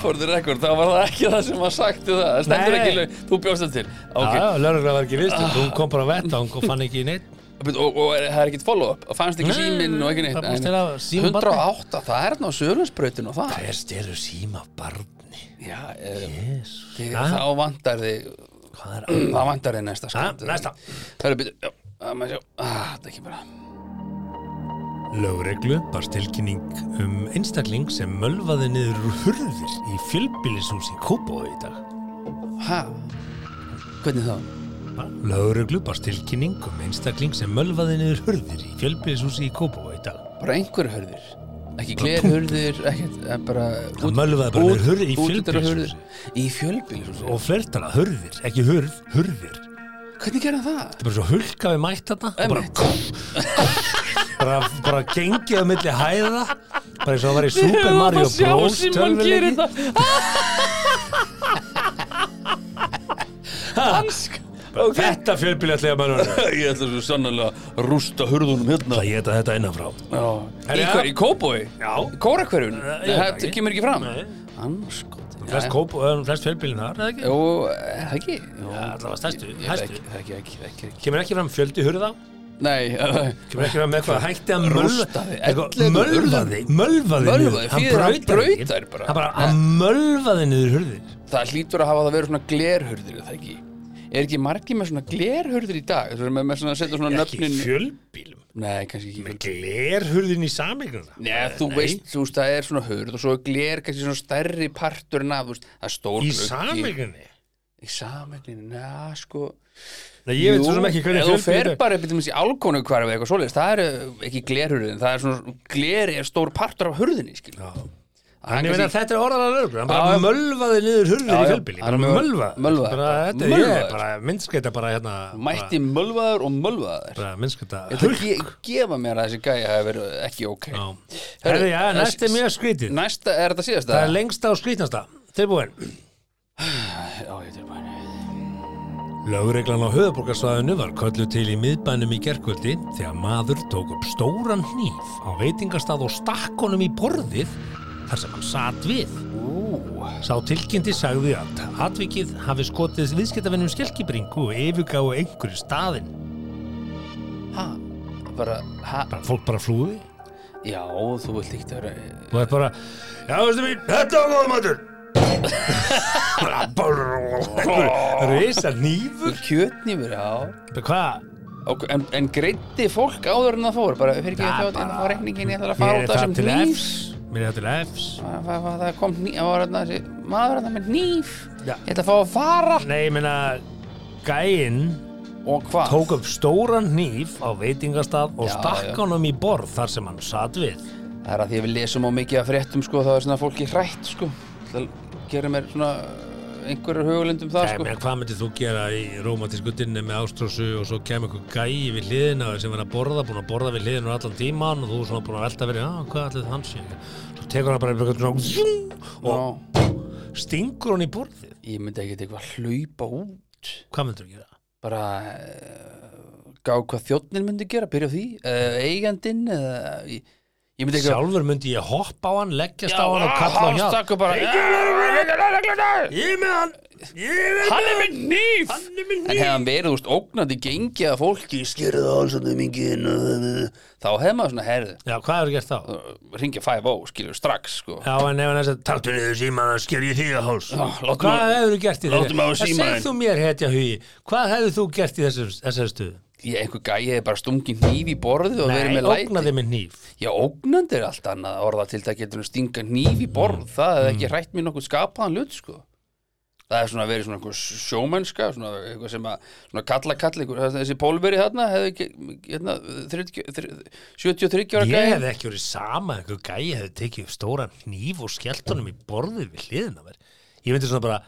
for the record, þá var það ekki það sem að sagti það Það Stendur Nei. ekki, lög- þú bjóst það til Já, Ok, já, lögregla var ekki viðstum Hún kom bara að vetta, hún kom, fann ekki neitt og, og, og er, það er ekkit follow-up og fannst ekki Nei, síminn og ekki neitt það búst en til að síminn barni. 108, það er nú sögurnsbrautinu og það Hver stelur síma af barni? Já, um, Jesus þá vantar þig Hvað er að? það vantar þig næsta Ha, skot Næsta Það er byrju, já, það maður sjá ah, Það er ekki bara Lögreglu barst tilkynning um einstakling sem mölvaði niður úr hurðir í fjölbýlishús í Kópói í dag. Hæ? Hvernig þá? Lögreglu barst tilkynning um einstakling sem mölvaði niður hurðir í fjölbýlishús í Kópói í dag. Bara einhverju hörður Ekki glerhörður, ekkert eh, bara út- mölvaði bara út- með hurð í útidyrahurðir. fjölbýlishúsi. Í fjölbýlishúsi Og flertala hurðir, ekki hurð, hurðir. Þetta Hvernig gerði hann það? er bara svo hulkaði mætt þarna og bara, Einmitt. bara, bara gengið á milli hæða, bara eins og það var í Super Mario Ég var Bros. að sjá Simon tölvuleiki. gerir þetta. Hansk Ok Þetta fjölbýlishús mölvaði. Ég ætla svo sannlega að rústa hurðunum hérna Það ég þetta þetta innanfrá. Já. Í Herra. hver, í Kóboi? Já. Kórakverfun? ég veit Það ekki. kemur ekki fram? Nei. Anskot Flest, kóp, eh, flest fjölbýlinn þar, eða ekki? Jó, er það ekki? Jó. Ja, allavega stærstu, Ég- ég- hæstu. Ekki, ekki, ekki, ekki, ekki. Kemur ekki fram fjöldi hurða? Nei, eh, Kemur ekki fram með eitthvað hætti að mölva- Rústaði, eitthvað- ellefu mölvaði Mölvaði Mölvaði, Hann þýðir hann brautar ekki. brautar bara. Hann bara hann mölvaði niður hurðir það hlýtur að hafa það verið svona glerhurðir, er það ekki? Er ekki margir með svona glerhurðir í dag? Þú erum með, með svona, setja svona Ekki í nöfnin fjölbílum Nei, kannski ekki Glerhurðin í sameignuna Nei, þú veist, þú veist, það er svona hurð og svo er gler kannski svona stærri partur en að, þú veist, það er stór Í gluggi. sameignunni Í sameigninni, neða, sko Nei, ég veit svo sem ekki hvernig ef þú fer fjölbíl bara upp í þessi álkonu hvarfi eitthvað svoleiðis, það er ekki glerhurðin, það er svona, gleri er stór partur af hurðinni, skil Já. En ég meina að kannski- þetta er orðalega lögur Hann Já, bara já. mölvaði niður hurðir Já, í já. fjölbíli Hann er mjög- Mölvaði mölvaði. Bara þetta er- ég er Mölvaði. bara Minnskeita bara hérna bara- mætti mölvaðar og mölvaðar Bara minnskeita Þetta ge gefa mér að þessi gæja hefur verið ekki ok Herðu, já, næst er mjög skrítið Næsta, er þetta síðasta? Það er lengsta og skrítnasta Tilbúin Já, ég er tilbúin. Lögreglan á höfuborgarsvæðinu var köllu til í miðbænum í gerkvöldi þegar maður tók upp stóran hníf á veitingastað og stakk honum í borðið þar sem hann sat við. Ú, Sá tilkynnti sagði að atvikið hafi skotið viðskiptavinnum skelkibringu og yfirgáðu einhverju staðinn. hæ? Bara, hæ? Bara fólk bara flúði. Já, þú vilt ekki vera... eh, Og það er bara, já veistu mín, þetta var góðum öllur. bara, bara, risa hnífur. Kjötnýmur, já. Hvað? Ok, en, en greiddi fólk áður en það fór? Bara, fyrir ekki, Það ég ætla að Ah, bara- fá reikningin, ég ætla að fara Mér er út af það þessum til hníf. Fs. Mér er það til Fs. Það- Það það- það kom hníf, það var þarna þessi maður þarna með hníf. Já. Ég ætla að fá að fara. Nei, ég meina, gæinn Og hvað? tók upp stóran hníf á veitingastað og Já, stakk já. honum í borð þar sem hann satt við. Það er að því að við lesum á mikið af fréttum, sko, þá er svona fólki hrætt, sko. Það gerir mér svona eh, einhverjar hugulindum það, Nei, sko. menn, hvað myndir þú gera í romantísku dinni með ástrósu og svo kemur einhver gæi við hliðina á þér sem var að borða, búin að borða við hliðina á allan tíman og þú svona búin að velta verið, já, hvað allir það hans ég? Svo tekur hann bara einhvern veginn svona og Ná, stingur hann í borðið. ég myndi ekki eitthvað hlaupa út. Hvað myndir þú gera? bara uh, gá hvað þjóttnin myndi gera, byrja á því uh, eigandinn eða ég, ég myndi ekki Sjálfur myndi ég hoppa á hann, leggjast á hann og kalla á hjálp. hálstakku bara "Ah, Ég er með hann! Ég er með hann! hann er með nýf Hann er með en hefði hann verið úst ógnandi gengi að fólki skerðu hálsandi mingin þá hefði maður svona herðu Já, hvað hefur gert þá? ringja 5-0 skilur oh, strax sko Já, en ef hann er þess að taktu niður síman að sker ég þig að háls Já, látum Hvað að- hefur þú gert í látum að hafa Það símann. segð þú mér, hetja hugi Hvað hefur þú gert í þessar, þessar stöðu? ég einhver gæi hefði bara stungið nýf í borðu og verið Nei, með læti ógnaði með hníf já ógnandi er allt annað orða til það getur stinga nýf í borð Mm. það hefði ekki hrætt mér nokkuð skapaðan hlut sko það er svona verið svona einhver sjómennska svona eitthvað sem að svona kalla kalla einhver, þessi pólveri þarna hefði ekki hérna, 30, 30, 73 ára Ég gæi. hefði ekki verið sama að einhver gæi hefði tekið upp stóran hníf og skellt honum í borðið við hliðina mér Ég myndi svona bara,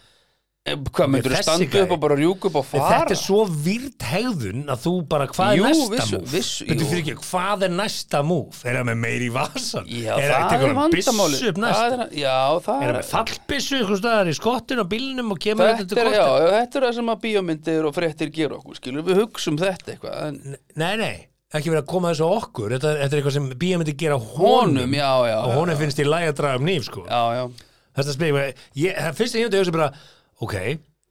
Eh, hvað myndur þessi þú standa gæi. upp og bara rjúka upp og fara þetta er svo virt hegðun að þú bara, hvað Jú, er næsta vissu- múf? vissu- Bíddu, jú. fyrir ekki, hvað er næsta múf? Er það með meiri í vasan? já, er það það er vandamáli bissu upp næst? já það Er það er með fallbissu ykkur staðar í skottinu og bílnum og kemur Þetta er, já, þetta er það sem að bíómyndir og fréttir gera okkur, skilur við hugsa um þetta eitthvað, en Nei, nei, ekki verið að koma þessu á okkur Þetta, þetta er eitthvað sem bíja myndi gera honum, honum, já, já, og honum finnst í lægi að draga um nýf sko. já, já, Þetta spyrir mig, ég, það fyrst ég myndi að hugsa bara Ok,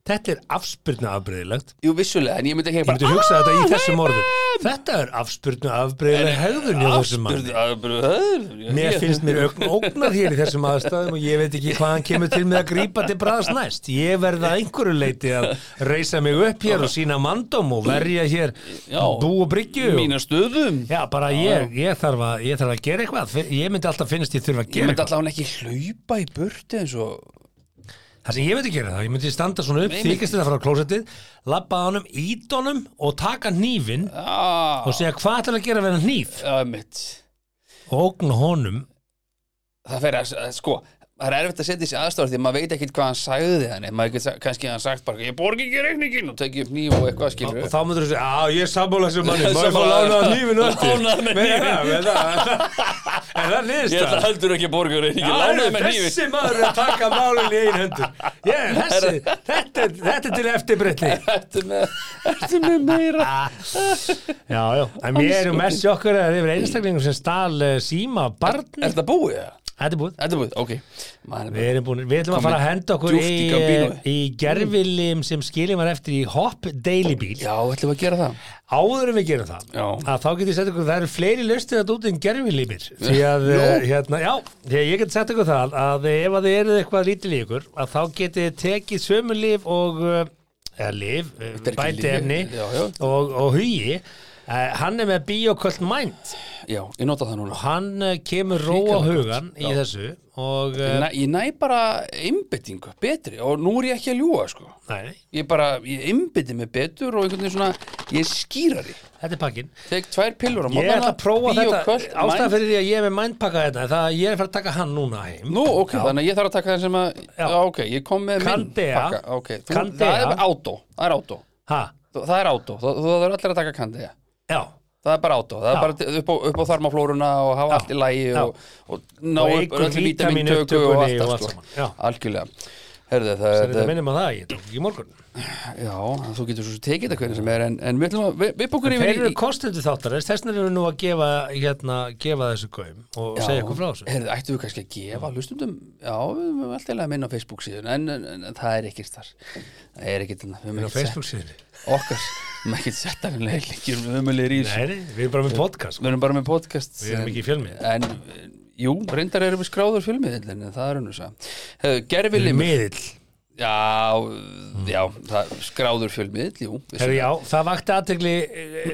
þetta er afspyrna afbreyðilegt jú, vissulega, en ég myndi ekki "Ah, Ég myndi hugsa þetta í þessum orðum Þetta er afspyrna afbreyðileg hegðun hjá þessum mann Mér finnst mér ögn ógnar hér í þessum aðstæðum og ég veit ekki hvað hann kemur til með að grípa til bræðs næst. Ég verða einhverju leiti að reysa mig upp hér og sína mandóm og verja hér Já. bú og bryggju. og- mína stöðum Já, bara ég, ég, þarf að, ég þarf að gera eitthvað. Fi- Ég myndi alltaf finnst ég þurfa að ég gera myndi eitthvað. alltaf hann ekki hlaupa í burti eins og Það sem ég myndi gera það, ég myndi standa svona upp, Nei, nei. þykist þetta frá klósettið, labba að honum, ít honum og taka hnífin ah, og segja hvað ætlar að gera við hann hníf já, mitt og ógna honum. það fer að, að- sko það er erfitt að setja þessi aðstofar því að maður veit ekkit hvað hann sagði þannig maður getur sa- kannski hann sagt bara ég borgi ekki reikningin og tekið upp nýf og eitthvað skilur Og þá myndur þú segja, já, ég er sammála þessu manni, má ég fá Sammála. lánað hnífin og eftir. Lánaðu mér Nei, hnífinn. já, með það- Er það ég ætla niðurstað? heldur ekki að borga reikningin lánaðu með nýfi Þessi maður er að taka málun í einu hendur. Ég, þessi, þetta, er- þetta er til eftirbreytni. ertu með, ertu með meira Já, já, en mér erum mest sjokkur að það er einstaklingum sem stal uh, síma af barni. er þetta búið? eða? Þetta er búið. þetta er búið, ok maður er Við erum búin, við ætlum að Komið fara að henda okkur djúpt í, eh, í Gambino. í gerfilim sem skilum var eftir í Hopp Daily Bíl. Já, ætlum við að gera það Áður en við gerum það, Já. að þá getur ég sett ykkur, það eru fleiri löstir að út en gerfilimir. Því að, Nú? eh, hérna, já, því að ég get sett ykkur það að ef að þið eruð eitthvað lítil í ykkur, að þá getið þið tekið sömu líf og, eh, eða líf, er ekki bæti lyf, efni já, já. og, og hugi, Eh, Hann er með Biokult Mind Já, ég nota það núna Hann eh, kemur ró á Hrikalegt hugan í þessu og Ég eh, næ, ég næ bara einbyttingu, betri og nú er ég ekki að ljúga sko nei, nei, ég bara, ég einbytti mig betur og einhvern veginn svona, ég er skýrari þetta er pakkin tek tvær pillur á Ég mótana ætla að prófa þetta ástæða ástæðan fyrir fyrir því að ég er með mindpakka þetta er það að ég er að fara að taka hann núna heim Nú, ok, þannig að ég þarf að taka það sem að já. Já. ok, ég kom með minn Candea. pakka okay. þú, Candea. það er átó, það er átó Ha, það er átó, þú þú þarf allir að taka kandega já það er bara átó, það er Já. bara upp á, upp á þarmaflóruna og hafa allt í lægi Já. og, og ná Og upp eykur öllu vítamintöku vítamínupptökunni og og allt allt það saman, já. sko. algjörlega Herðu, það, Það er þetta það, minnum að það, ég tók í morgun já, þú getur svo sem tekið þetta hvernig sem er en, en við, ætlum að- við, við bókur Þeir yfir eru kostendur þáttar, þess vegna erum við nú að gefa, hérna, gefa þessu gaum og Já. segja ykkur frá þessu Heyrðu, ættu við kannski að gefa hlustundum Já, við höfum alltaf að minna á Facebook síðan en, en, en, það er ekkert þar Það er ekkert þarna, við höfum Á ekkert sett Facebook síðinni Okkar, við höfum ekkert sett að við leikjum Við höfum alveg í þessu Nei, nei, við erum bara með podcast sko. Við höfum bara með podcast Við erum en- ekki í fjölmiðli. En, jú, reyndar erum við skráður fjölmiðil En það er hann þess Gerfi limur Miðill Já, já, það, skráður fjölmiðil Jú, við Herri, Hmm. já, það vakti aðtegli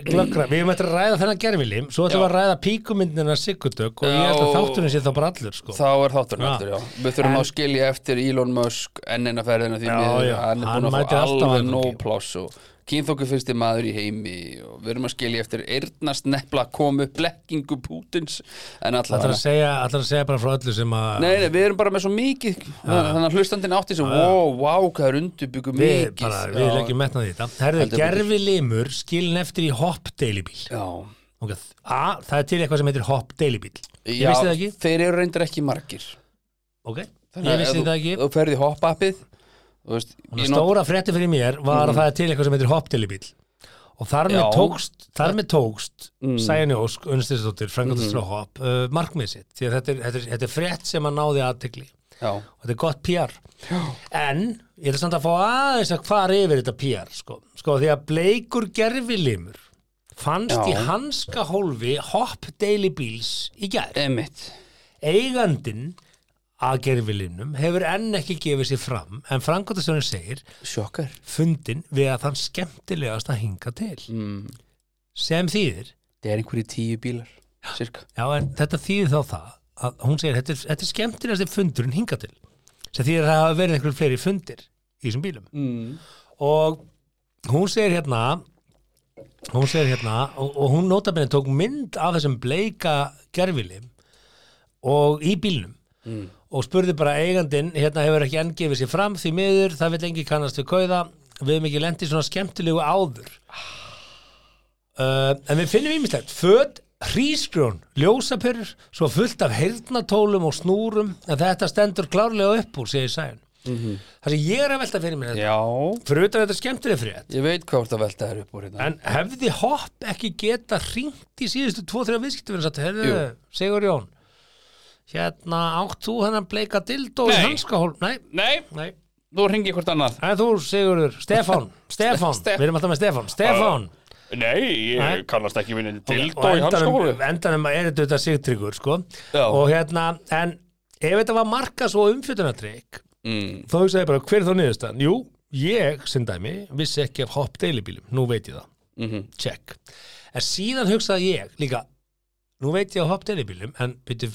glöggra. Við erum eftir að ræða þennan gerfilim, svo ætlum við Já. að ræða píkumyndina Sigurdögg og ég ætla Já. að þátturinn sé þá bara allur, sko. Þá er þátturinn Já. eftir, já. Við þurfum En- að skilja eftir Elon Musk ennina ferðina því Já, miður, já. hann er Hann búin að mætir fá alltaf alveg aðgangi. nóg pláss og kynþóku fyrsti maður í heimi og við erum að skilja eftir eyrnast nefla komu blekkingu Pútins en alltaf Ætlar að segja, ætlar að segja bara frá öllu sem að... Nei, nei, við erum bara með svo mikið þannig að hlustandinn átti sem, wow, wow, hvað er undurbyggu Við, mikið bara, við leggjum metnað í þetta. Herðu, Heldur betur. gerfilimur skilin eftir í hopp deilibíl. Já, Ok, A, það er til eitthvað sem heitir hopp deilibíl. Ég já vissi það ekki. þeir eru reyndar ekki margir Ok, ég vissi það ekki. Þú ferði hoppappið Ég stóra frétti fyrir mér var að það er til eitthvað sem heitir hoppdelibíl og þar með Mm. Já. tókst, þar með tókst mm. Sæjani Ósk, Unstinsdóttir, Frankaldstra mm. Hopp uh, markmið sitt, því að þetta er, þetta, er, þetta er frétt sem að náði aðtegli og Já, þetta er gott PR en ég ætla samt að fá aðeins að fara yfir þetta PR sko, sko því að bleikur gerfilimur fannst Já. í hanska hólfi Hopp Daily Bíls í gær emitt eigandinn að gerfilimnum hefur enn ekki gefið sér fram en Frankaldstra segir Sjokkar fundin við að þann skemmtilegast að hinga til mm. sem þýðir, Það er einhverju tíu bílar Cirka já en þetta þýðir þá það að hún segir, þetta er, þetta er skemmtilegasti fundurinn hinga til sem þýðir að það hafa verið einhverjum fleiri fundir í þessum bílum mm. og hún segir hérna hún segir hérna og, og hún nota benni tók mynd af þessum bleika gerfilim og í bílnum og spurði bara eigandinn hérna hefur ekki enn gefið sér fram því miður það vil engi kannast við kauða við hefum ekki lent í svona skemmtilegu áður uh, en við finnum ímislegt föt hrísgrjón, ljósapyrr svo fullt af heyrnatólum og snúrum en þetta stendur klárlega upp úr segir Sæun það sem ég er að velta fyrir mér þetta Já fyrir utan þetta skemmtileg frétt Ég veit hvað þú ert að velta þér upp úr hérna en hefði Hopp ekki geta hringt í síðustu 2-3 viðskiptum en satt, herðu, Jú. Sigur Jón hérna átt þú hennan bleika dildó í Nei. hanskahól, nei, Nei, nei þú ringi hvort annað en þú Sigurður, Stefán, Stefán Ste- við erum alltaf með Stefán, Stefán Nei, ég Nei. kannast ekki vinni og endanum, endanum er þetta auðvitað sigtryggur sko. Já. og hérna, en ef þetta var marka svo umfjötunatrygg mm. þá hugsaði ég bara, hver er þá niðurstaðan? Jú, ég, sem dæmi, vissi ekki af hopp deilibílum, nú veit ég það, mm -hmm. check. En síðan hugsaði ég líka, nú veit ég af hopp deilibílum, en byrju,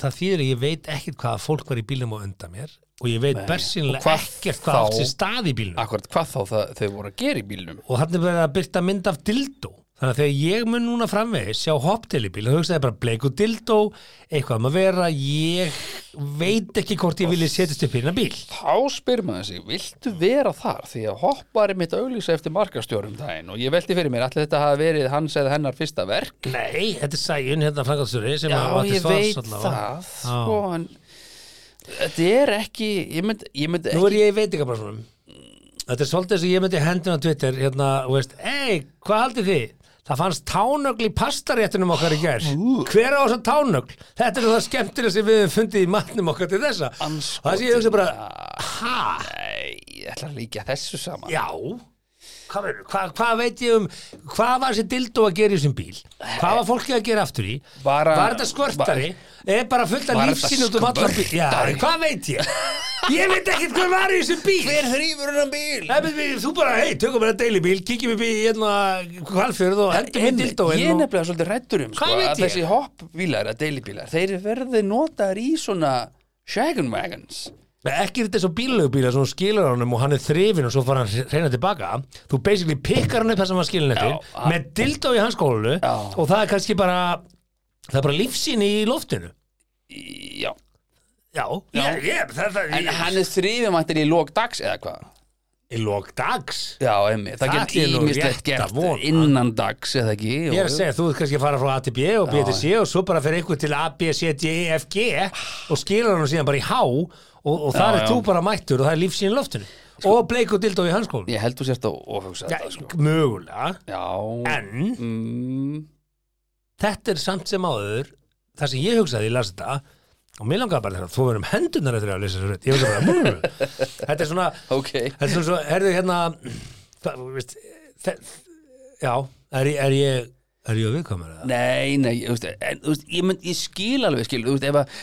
það þýðir að ég veit ekkert hvað fólk var í bílum og undan mér og ég veit Nei. Og bersinlega hvað ekkert hvað þá? átt sér stað í bílum. Akkurat, hvað þá það, þau voru að gera í bílnum Og þannig verið að byrta mynd af dildó. Þannig að þegar ég mun núna framvegis sjá hopp deilibíl, þá hugsaði ég bara bleiku dildó, eitthvað um að vera, ég veit ekki hvort ég vilji setjast upp hérna bíl. Þá spyr maður sig, viltu vera þar? Því að hoppari mitt auglýsa eftir markastjórum daginn og ég velti fyrir mér, allir þetta hafi verið hans eða hennar fyrsta verk Nei, þetta er Sæjun hérna frangasturri sem Já, að átti ég svars veit allavega. það sko, en, Þetta er ekki, ég mynd, ég mynd Nú er ég í veitingabrásnum Þetta er svolítið sem ég myndi hendina á Twitter hérna, og veist, ei, hvað haldið þið? Það fannst tánögl í pastaréttunum okkar í gær Hver á þessa tánögl? Þetta er það skemmtilega sem við höfum fundið í matnum okkar til þessa Andskotinn. Það sé ég hugsa bara, ha? Nei, ég ætla að líka þessu saman Já hvað, verður- hvað, hvað veit ég um hvað var þessi dildó að gera í þessum bíl hvað var fólkið að gera aftur í Bara- var þetta skvörtari er bara fullt af Var þetta lífsinn út um allan bíl já, skvörtari? hvað veit ég ég veit ekkert hvað var í þessum bíl Hver þrýfur hennan bíl? Nei, við, þú bara, hei, tökum bara deili bíl kíkjum upp í hérna hvalfjörð og hendum í Einmitt, dildóin ég er og- nefnilega svolítið rættur um sko, Hvað veit að ég? þessi hoppbílar, að deilibílar þeir verði notaðar í svona shaggin wagons Nei, ekki þetta svo bílögubíla sem hún skilur honum og hann er þrifin og svo fara hann að reyna tilbaka þú basically pikkar hann upp þar sem hann skilur Já, eftir hann- með dildó í hans skólu Já. og það er kannski bara það er bara lífsinn í loftinu Í- Já, Já, Já. Ég, ég, það, það, en hann er þrýfumættir í lók dags eða hvað? í lok dags Já, emmi, það Það er getur nú rétt ímislegt að gert vona. innan dags eða ekki Ég er að segja, þú ert kannski að fara frá A til B og B Já, til C og svo bara fyrir ykkur til A, B, C, D, E, F, G og skilur hann síðan bara í H og, og Já, Sko- þar er já. þú bara mættur og það er lífsinn í loftinu og bleikur dildó í hans skólu Ég held þú sért að ofhugsa Já, þetta sko. mögulega Já, En mm, þetta er samt sem áður það sem ég hugsaði, ég las þetta og mér langaði bara þegar þú verðum hendunar eftir að lesa þessu rödd, ég hugsaði bara "Mm." þetta er svona, ok þetta er svona svo, herðu hérna það, veist, það, já, er, ég- er ég er ég að viðkomur það? Nei, nei, þú veist, en, þú veist, ég, mynd, ég skil alveg skil, þú veist, ef að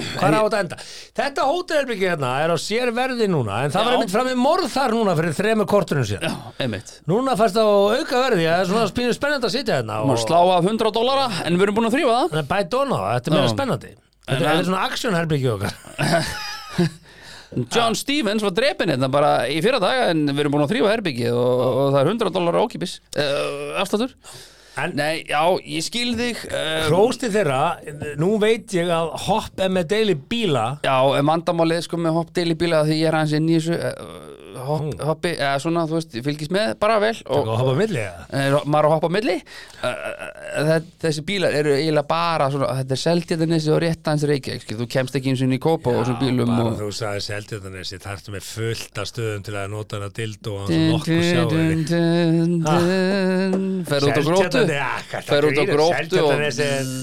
Hvað er á þetta að enda? Þetta hótelherbyggi hérna er á sér verði núna en það var Já. einmitt fram í morð þar núna fyrir þremur kortunum síðan. Já, einmitt Núna færst á auka verði, það er svona spínu spennandi að sitja hérna Má og slá af 100 dólara, en við erum búin að þrýfa það Nei, bæta ofan á það, þetta er meira Já. spennandi. Þetta þetta er svona aksjónherbyggi okkar. John Stevens var drepin hérna bara í fyrra dag en við erum búin að þrýfa herbyggið og, og það er 100 dólar ákipis uh, afstættur En- Nei, já, ég skil þig uh, Hrósti þeirra, nú veit ég að hopp er með deili bíla Já, en vandamálið sko með hopp deilibíla því ég er hans inn í þessu uh, hopp, hoppi, eða svona, þú veist, ég fylgist með bara vel og og hoppa milli eða? Eh, maður að hoppa á milli Eh, eh, þe- þessi bílar eru eiginlega bara svona, þetta er seldjæðanesi og réttans reykjæk þú kemst ekki eins og inn í kópa og svona bílum bara og þú sagði seldjöðanesi, það ertu með fullt af stöðum til að nota hana dildo og hann nokkuð sjáu fer út á grótu ah, fer út á grótu og Mm. Seldjöðanesi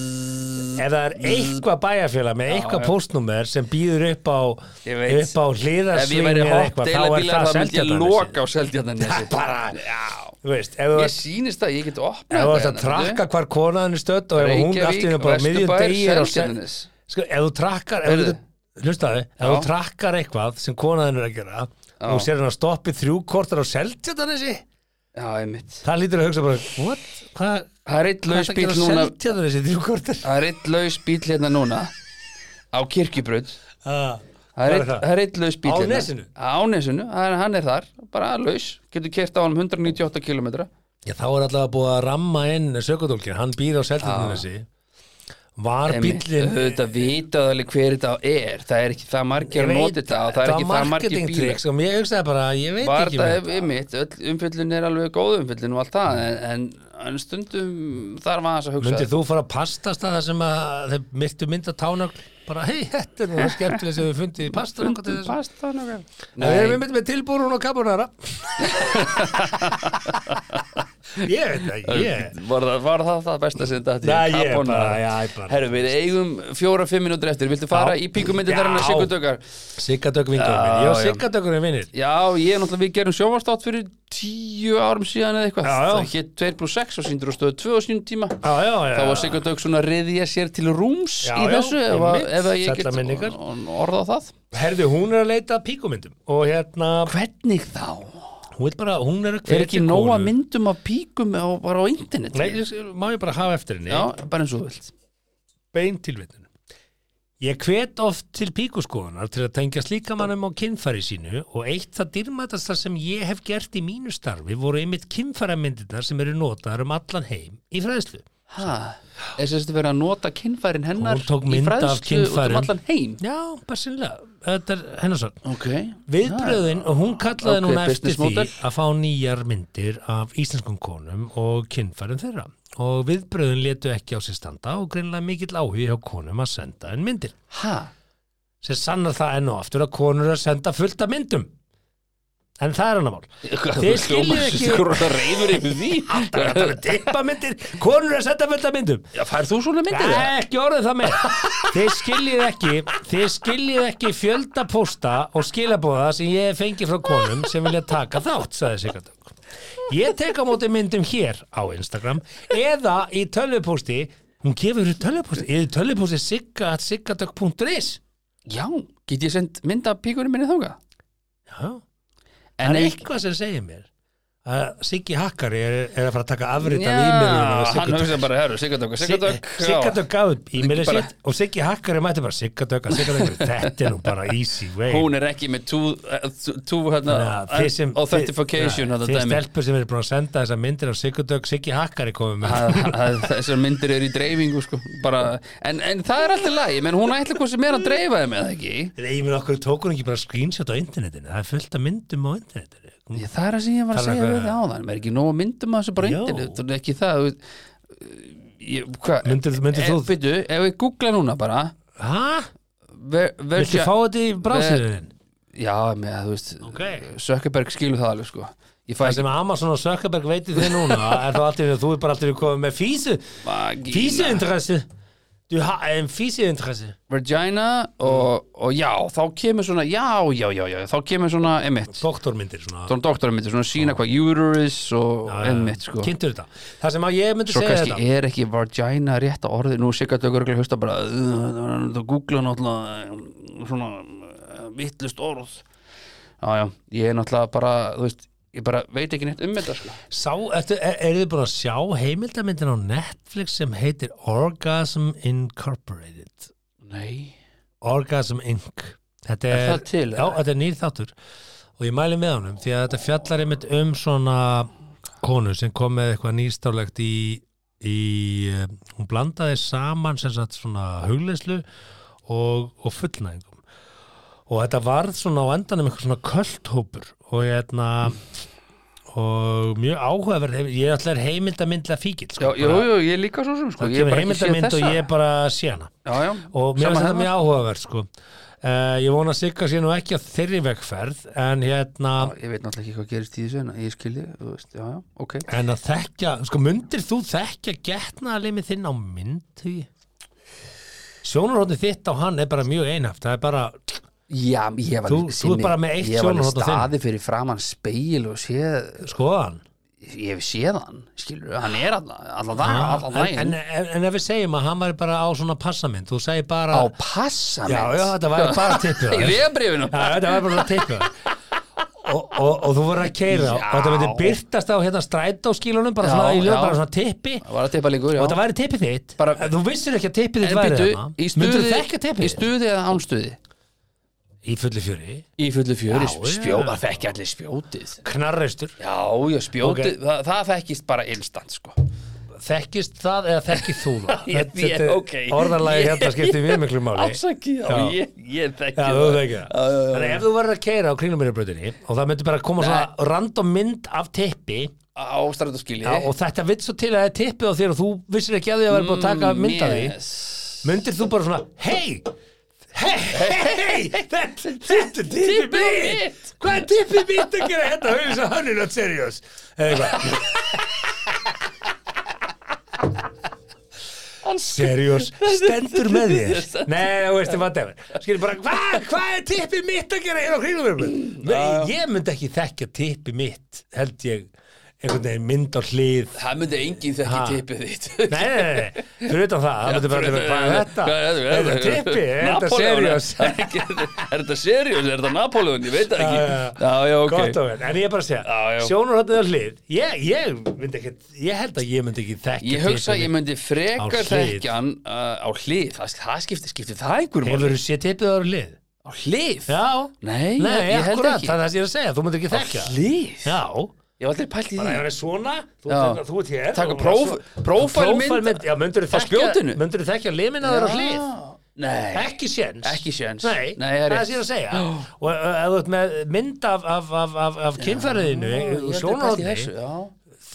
Ef það er eitthvað bæjarfélag með eitthvað postnúmer sem býður upp á Ég veit. upp á ef ég hliðarsving væri eða hopp eitthvað, þá er deilabílar það þá myndi ég seldjöðanesi loka á seldjæðanesi Bara, já þú veist, ef þú ég ert- sýnist að ég get ef opnað þú ert að trakka hvar konaðan er stödd og ef hún allt í hennu bara á miðjum degi er á sel- sko, ef þú trakkar ef Heyrðu. þú, hlustaði, ef Já. þú trakkar eitthvað sem konaðin er að gera Já. og sér hann að stoppi þrjú kortar á seltjötanesi já, einmitt það lítur að hugsa bara, what? Hvað það er eitt hvað laus ertu að bíl gera núna seltjötanesi þrjú kortar? Það er eitt laus bíl hérna núna á kirkjubraut Ah, Hvar Það er er eitt- það? það er eitt laus bíl Á hérna nesinu? Á nesinu, hann hann er þar, bara laus Getur kert á hann 198 km Já, þá er allavega búið að ramma inn sökudólkin, hann býr á seltjötanesi var bíllinn Þetta vitað alveg hver þetta er Það er ekki það margir að nota þetta og Það er ekki það margir bílar marketingtrygg og ég sko. hugsaði bara, ég veit Var ekki um með það ymmit, öll umfyllun er alveg góð umfyllun og allt það en, en, en stundum þar var hans að hugsa Myndir þú fara að pastast að það sem að þeir myrtu mynda tánögl bara hei, þetta er nú skemmtileg sem við fundið í pasta Stundum nokkuð til þessu. past það nákvæm Nei, við erum myndið með tilbúrun og kabunara. ég veit það, ekki, ég. var, það, var það það besta sem þetta Nei, ég bara- já, ég bara- Herru, við eigum fjóra-fimm mínútur eftir Viltu fara Já. í píkumyndirnar en að Já. sikku dökar? Siggadögg vingur Já, minn, ég og já. Siggadöggur er vinnir. Já, ég er náttúrulega, við gerum sjóvarstátt fyrir tíu árum síðan eða eitthvað Já, já. Það hétt 2 plus 6 og síndur á stöðu 2 á sínum tíma Já, já, já. Þá var sikku dök svona að riðja sér til rúms Já, í já, þessu ef, að- einmitt. ef að ég Sælla minningar. get orðað það Herðu, hún er að leita að píkumyndum og hérna, Hvernig þá? hún vil bara, hún er að Er ekki nóg að konu. myndum af píkum á, bara á internet? Nei, ég- má ég bara hafa eftir henni. Já, bara eins og þú vilt bein tilvitnun. Ég hvet oft til píkuskoðunar til að tengja slíkamannum á kynfæri sínu og eitt það dýrmætasta sem ég hef gert í mínu starfi voru einmitt kynfæramyndirnar sem eru notaðar um allan heim í fræðslu. Ha, er sérstu verið að nota kynfærin hennar Hún tók í mynd af fræðslu út um kynfærum. allan heim Já, bara sinnlega. Þetta er hennar svo. Ok Viðbröðin, og hún kallaði Ah, ok, núna eftir business model. því að fá nýjar myndir af íslenskum konum og kynfærum þeirra. Og viðbröðin letu ekki á sér standa og greinlega mikill áhugi hjá konum að senda en myndir. Ha, sem sannar það enn og aftur að konur eru að senda fullt af myndum en það er hann að mál Þið skiljið ekki Hvað reyður yfir því? þetta eru dippamyndir, konur eru að senda fullt af myndum Já, fær þú svona myndir það? Nei, ekki orðið það með Þið skiljið ekki Þið skiljið ekki fjölda pósta og skilabóða sem ég hef fengið frá konum sem vilja taka þátt, sagði Sigardögg Ég tek á móti myndum hér á Instagram eða í tölvupósti hún gefur tölvupósti eða í tölvupósti sigga.siggadögg.is Já, get ég sendt mynd af píkurinn minni þóka? Já, það En er ekki eitthvað sem segir mér að Siggi Hakkari er, er að fara að taka afrita af Já, hann e-mailinu hugsa bara, herru, Siggadökk, Siggadökk Siggadögg gaf upp e-mailið Bara- sitt og Siggi Hakkari mætti bara Siggadögg Siggadögg, þetta er nú bara easy way Hún er ekki með tú, tú hérna, Þannig að þið sem- authentification, þið- þetta þið dæmi stelpur sem eru búin að senda þessar myndir af Siggadögg Siggi Hakkari komið með Það- það- Þessar myndir eru í dreifingu, sko bara, en, en það er alltaf lagi, menn hún ætla hvað sem er að dreifa þeim eða ekki Nei, ég meina okkur tókur ekki bara screenshot á internetinu það er fullt af myndum á internetinu Hún- Ég, það er það sem ég var að Þarf segja Mm. eitthvað- við þið áðan maður er ekki nóg að myndum að þessu bara Jó. internet þú er ekki það þú veist, eh, ég, hva, Myndir- myndir þú- Byrju, ef ég googla núna bara Hæ? ver, Viltu fá þetta í brásirinn? Já, með, þú veist Ok. Sökkerberg skilur það alveg sko Ég fæ Það ekki sem Amazon og Sökkaberg veitir þig núna er þá allir, þú er bara allir komið með físu vagina, físuinteressi Du har en físuinteressi Vagina og, og já, þá kemur svona Já, já, já, já, þá kemur svona emitt Doktormyndir svona Svona doktoramyndir, svona sína hvað uterus og emitt sko Kynntur þetta Það sem að ég myndi Svo segja kannski þetta er ekki vagina rétta orðið Nú sikkert auðvitað örgulega hlusta bara "Ugh, Það googla náttúrulega eh, Svona eh, vittlust orð Já, já, ég er náttúrulega bara Þú veist, ég bara veit ekki neitt um þetta sko. Sá, ertu, er, er þið búin að sjá heimildamyndin á Netflix sem heitir Orgasm Incorporated Nei Orgasm Inc Þetta Er er, það til, Eh, Já, eða? þetta er nýr þáttur og ég mæli með honum því að þetta fjallar einmitt um svona konu sem kom með eitthvað nýstárlegt í, í eh, hún blandaði saman sem sagt svona hugleyslu og, og fullnæðingum og þetta varð svona á endanum eitthvað svona kvöldhópur og hérna og mjög áhugaverð ég ætla er heimildamindla fíkil Já, sko, jú, bara- jú, ég líka svo sem sko. það Ég er kemur bara ekki séð heimildamind þessa og ég bara sé hana Já, já, og mér Sama finnst þetta hérna. mjög áhugaverð sko. uh, ég vona að Sigga sé nú ekki á þeirri vegferð en hérna Ég veit náttúrulega ekki hvað gerist í þessu En ég skilji, þú veist, já, já, ok en að þekkja, sko mundir þú þekkja getnaðalimið þinn á mynd sjónarhóttni þitt á hann er bara mjög einhaft það er bara, Já, ég var Þú- þú ert bara með eitt Ég var alveg sjónarhorn á þinn. staði fyrir framann speil og séð skoða hann Ég hef séð hann, skilur Hann er allan, allan, dag, en, allan daginn en, en, en ef við segjum að hann væri bara á svona passamynd þú segir bara á passa já, já, þetta væri bara tippið í þér. vegabrifinu Já, þetta var bara að tippa og, og, og þú voru að keira og Já. þetta myndi byrtast á hérna strætóskílunum bara Já, svona í já. lög, bara svona tippi það var að tippa líkur já. og þetta væri tippið þitt Bara- En þú vissir ekki að tippið þitt En væri bíddu, þarna. í myndir þú stuði- þekka tippið í stuði eða ánstuði þitt í fulli fjöri, í fullu fjöri Já, já. spjóð, það fekk allir spjótið knarreistur já, já, spjótið, Ok. það, það fekkist bara instant sko þekkist það eða þekkið þú það Ég- Þetta- ég- þetta er- ok. orðalagið hérna Ég- skiptir við miklu máli afsaki, já, Já. ég, ég þekki Já, þú það þekki það. Þannig ef þú verður að keira á kringlumýrjabrautinni og það myndi bara koma svona random mynd af tippi á já, strætóskili og þetta vitt svo til að það er tippið á þér og þú vissir ekki að því að verður búin að taka mynd af því myndir þú bara svona hei hei, hei, þetta þetta er tippið Tippið mitt mitt. hvað er tippið mitt að gera þetta höfum svo hann er not serious eða eitthvað, serious stendur með þér nei, þú veistu hvað það skilur bara, hvað, hvað er tippið mitt að gera hér á kringumverfum nei, ég myndi ekki þekkja tippið mitt held ég, einhvern veginn mynd á hlið það myndi enginn þekki Ha. tippið þitt Nei, nei, nei, nei, fyrir utan það, það myndi bara Fyrir- að hvað er þetta? Er þetta tippi? Er þetta Napóleon, seriós? Er er þetta seriós? Er þetta Napoleon? Ég veit það Já, ekki já, já. Já, já, ok Gott og vel, en ég er bara að Já, segja já. Sjónarhóttið á hlið ég, ég, myndi ekki, ég held að ég myndi ekki þekka Ég hugsa að ég myndi Á frekar hlið. þekkja hann uh, á hlið, það, það skipti, skipti það einhverjum Hefur þú sé tippið á hlið? á hlið? Já Nei, Nei, ég, ég held akkurat, ekki það er það sem ég er að segja, þú myndi ekki Á þekka hlið? Já Ég var aldrei pælt í Bara ef því hann er svona, þú, Já. þú, þú ert hér Taka og bara próf- svo- prófælmynd prófælmynd, Já, myndir á spjótinu. Myndir þú þekkja limin að það á hlið? Nei, Ekki séns Ekki séns. Nei, Nei, það er það rétt. er sér að segja Og uh, ef þú ert með mynd af, af, af, af, af kynfæriðinu Ég og hef aldrei pælt í þessu, sjónarhóttið já.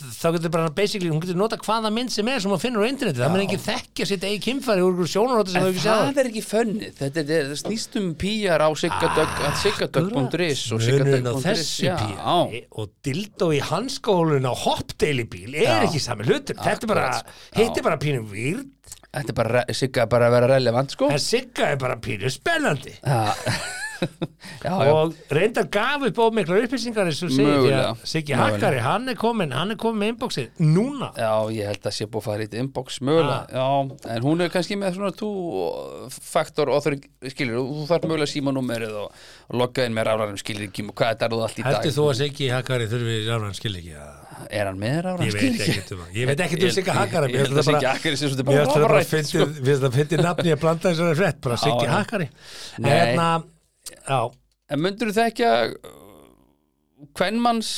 þá getur bara basically, hún getur nota hvaða mynd sem er sem hún finnur á interneti, það mun engin þekkja sitt eigi kynfæri úr sjónarhóttið sem En þú ekki það séð er ekki fönnið, þetta er, það snýst um píjar á siggadögg.is og Ah, Munurinn á siggadögg.is þessu bíl e, og dildó í hanskólun á hoppdeili bíl er Já. ekki sami hlutur þetta er bara, Akkurat, sko. hitt er bara pínu výrd Þetta er bara, sigga er bara að vera relevant sko en sigga er bara pínu spennandi Já já, já, og reyndar gaf upp of miklar upplýsingar eins og segir því Mögulega. að Siggi Mögulega. Eh, Hakkari, hann er komin hann er komin með inboxið núna já, ég held að sé búið að fara í þetta inbox mögulega, já, en hún er kannski með svona two-factor author- skilur, þú þarf mögulega símanúmerið og, og logga inn með rafrænum skilríkjum og hvað þetta er þú allt í dag heldur þú að Siggi Hakkari þurfi rafræn skilríki að- er hann með ég rafrænum veit skilríkjum? ekki um það ég veit ekki um Siggi Hakkari ég held að Siggi Hakkari sé svolítið bara rafræn rafrænt, sko. við finnst að fyndi nafni að blanda þessari frett bara Siggi já. Hakkari en Nei. hérna já, En myndur þú þekja kvenmanns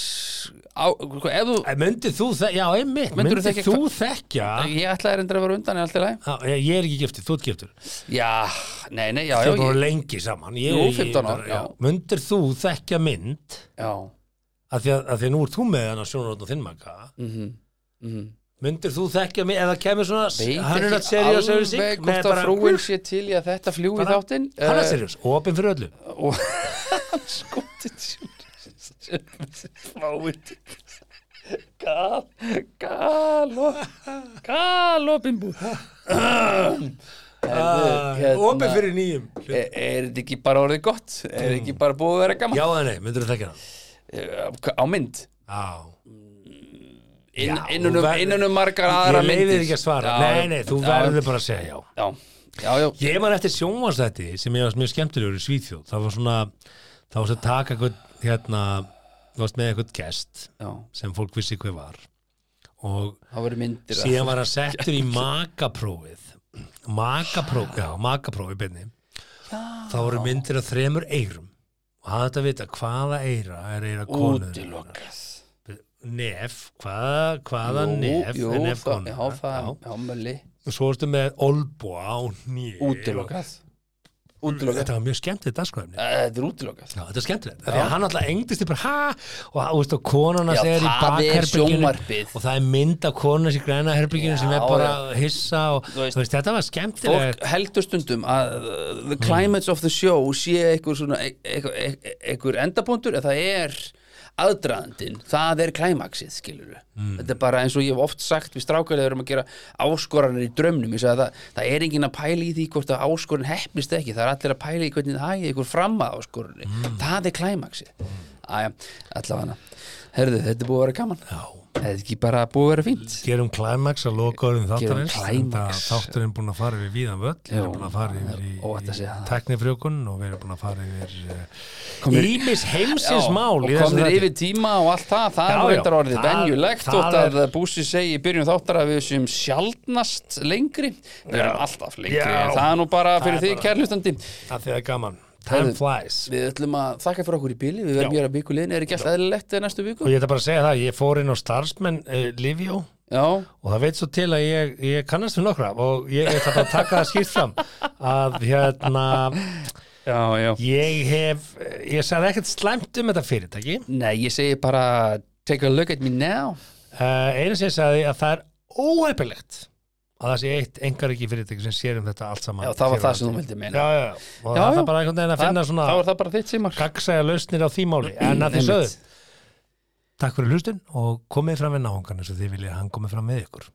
á, hvað- ef þú, en myndið þú þe- já, einmitt, Myndirðu myndið þekkja þú hva- þekkja ég ætlaði reyndar að vera undan í allt í lagi Já, ég ég er ekki giftur, þú ert giftur Já, nei, nei, já, Þið já, er bara ég, lengi saman ég, Jú, ég- 15 ár, já. Myndir þú þekkja mynd já af því að, að því að nú ert þú með hennar sjónarotn og þinn maka mm -hmm, mm myndir þú þekkja mynd eða kemur Veit svona hann er að ekki serið og serið sig alveg hvort að frúin sé til í að þetta fljú í Bara- þáttinn hann er eh, seriðs, opinn fyrir öllu og skotið sér fáið gal galop galopinbú Ah, opinn fyrir nýjum hérna, Er, er þetta ekki bara orðið gott? Er þetta ekki bara búið að vera gaman? já eða nei, myndir þú þekkja hann Eh, Á mynd já, Inn, Já, innan, þú um, verður- innan um margar ég aðra myndir leiði ekki að svara nei, nei, þú já, verður bara að segja já Já, já, já, Ég man eftir sjónvarsætti sem ég var mjög skemmtilegur í Svíþjóð. Það var svona, það var svona að taka eitthvað, hérna, þú varst með eitthvað gest já. sem fólk vissi hver var. Og Það voru myndir af- síðan var hann settur í makaprófið. Makaprófið, já, makaprófið beinni. Það voru myndir af þremur eyrum. Og hann þetta vita hvaða eyra er eyra konur. útilokað Nef, hvaða, hvaða Jú, nef jú, er nef það- Já, konur. það, já, mölli Og svo ertu með olbúa og nýr. Útilokað Útilokað Þetta var mjög skemmtið dagskvæmni. Þetta Eh, er útilokað Já, þetta er skemmtilegt. Því að hann alltaf engdist í bara, ha, og þú veist, og konan Já, hans er sånn í það er bakherbygginu sjónvarpið. og það er mynd af konan hans í græna herbygginu sem er Já, bara að hissa og, Þú veist- þú veist, þetta var Fólk skemmtilegt. heldur stundum að uh, the climates of the show sé einhver svona e- einhver e- einhver endapunktur en það er aðdraðandinn, það er klæmaksið skilur við, þetta er bara eins og ég hef oft sagt við strákarlega erum að gera áskoranir í draumnum, ég sagði það, það er engin að pæla í því hvort að áskorin hefnist ekki það er allir að pæla í hvernig það hægir ykkur fram að áskorinni það er klæmaksið Æja, allavega herðu, þetta er búið að vera gaman Já, þetta er ekki bara búið að vera fínt gerum klæmaks að loka orðin Gerum þáttarins. Enda climax. Þátturinn búin að fara yfir víðan völl, við Jú, erum búin að fara yfir í, óhætt að í segja það. teknifrjókun og við erum búin að fara yfir Komir- eh, ímis heimsins mál. og í þessum komnir þætti. yfir tíma og allt það Já, það er nú já. reyndar orðið Það- venjulegt það þótt að er- Búsi segi í byrjun þáttar að við séum sjaldnast lengri við erum alltaf lengri Já. en það er nú bara Það fyrir er því bara- kærlustandi Af því Það er gaman. Time Herðu, flies. við ætlum að þakka fyrir okkur í bíli við verðum Já. hér að byggu liðin er ekki alltaf eðlilegt eh, næstu Og viku ég ætla bara að segja það, ég fór inn á starfsmenn uh, Livjó já og það veit svo til að ég, ég kannast við nokkra og ég ætla bara að taka það skýrt fram að hérna já já ég hef ég sagði ekkert slæmt um þetta fyrirtæki nei ég segi bara take a look at me now uh, einu sem ég sagði að það er óhefilegt að það sé eitt engar ekki fyrirtæki sem sér um þetta allt saman já það hér var á það sem landi. þú vildi meina já, já, já, og Já, það já. er bara einhvern veginn að finna svona þá er það bara þitt simar gagsæja lausnir á því máli en að því sögðu, takk fyrir hlustun og komið fram við náungan eins og þið viljið að hann komið fram við ykkur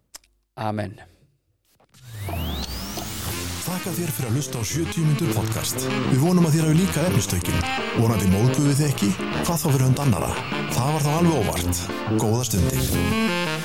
amen Þakka þér fyrir að hlusta á 70 myndur podcast. Við vonum að þér hafi líka efnistökin. Vonandi móðguðu þið ekki? Hvað þá fyrir hund annara? Það var þá alveg óvart. Góða stundir.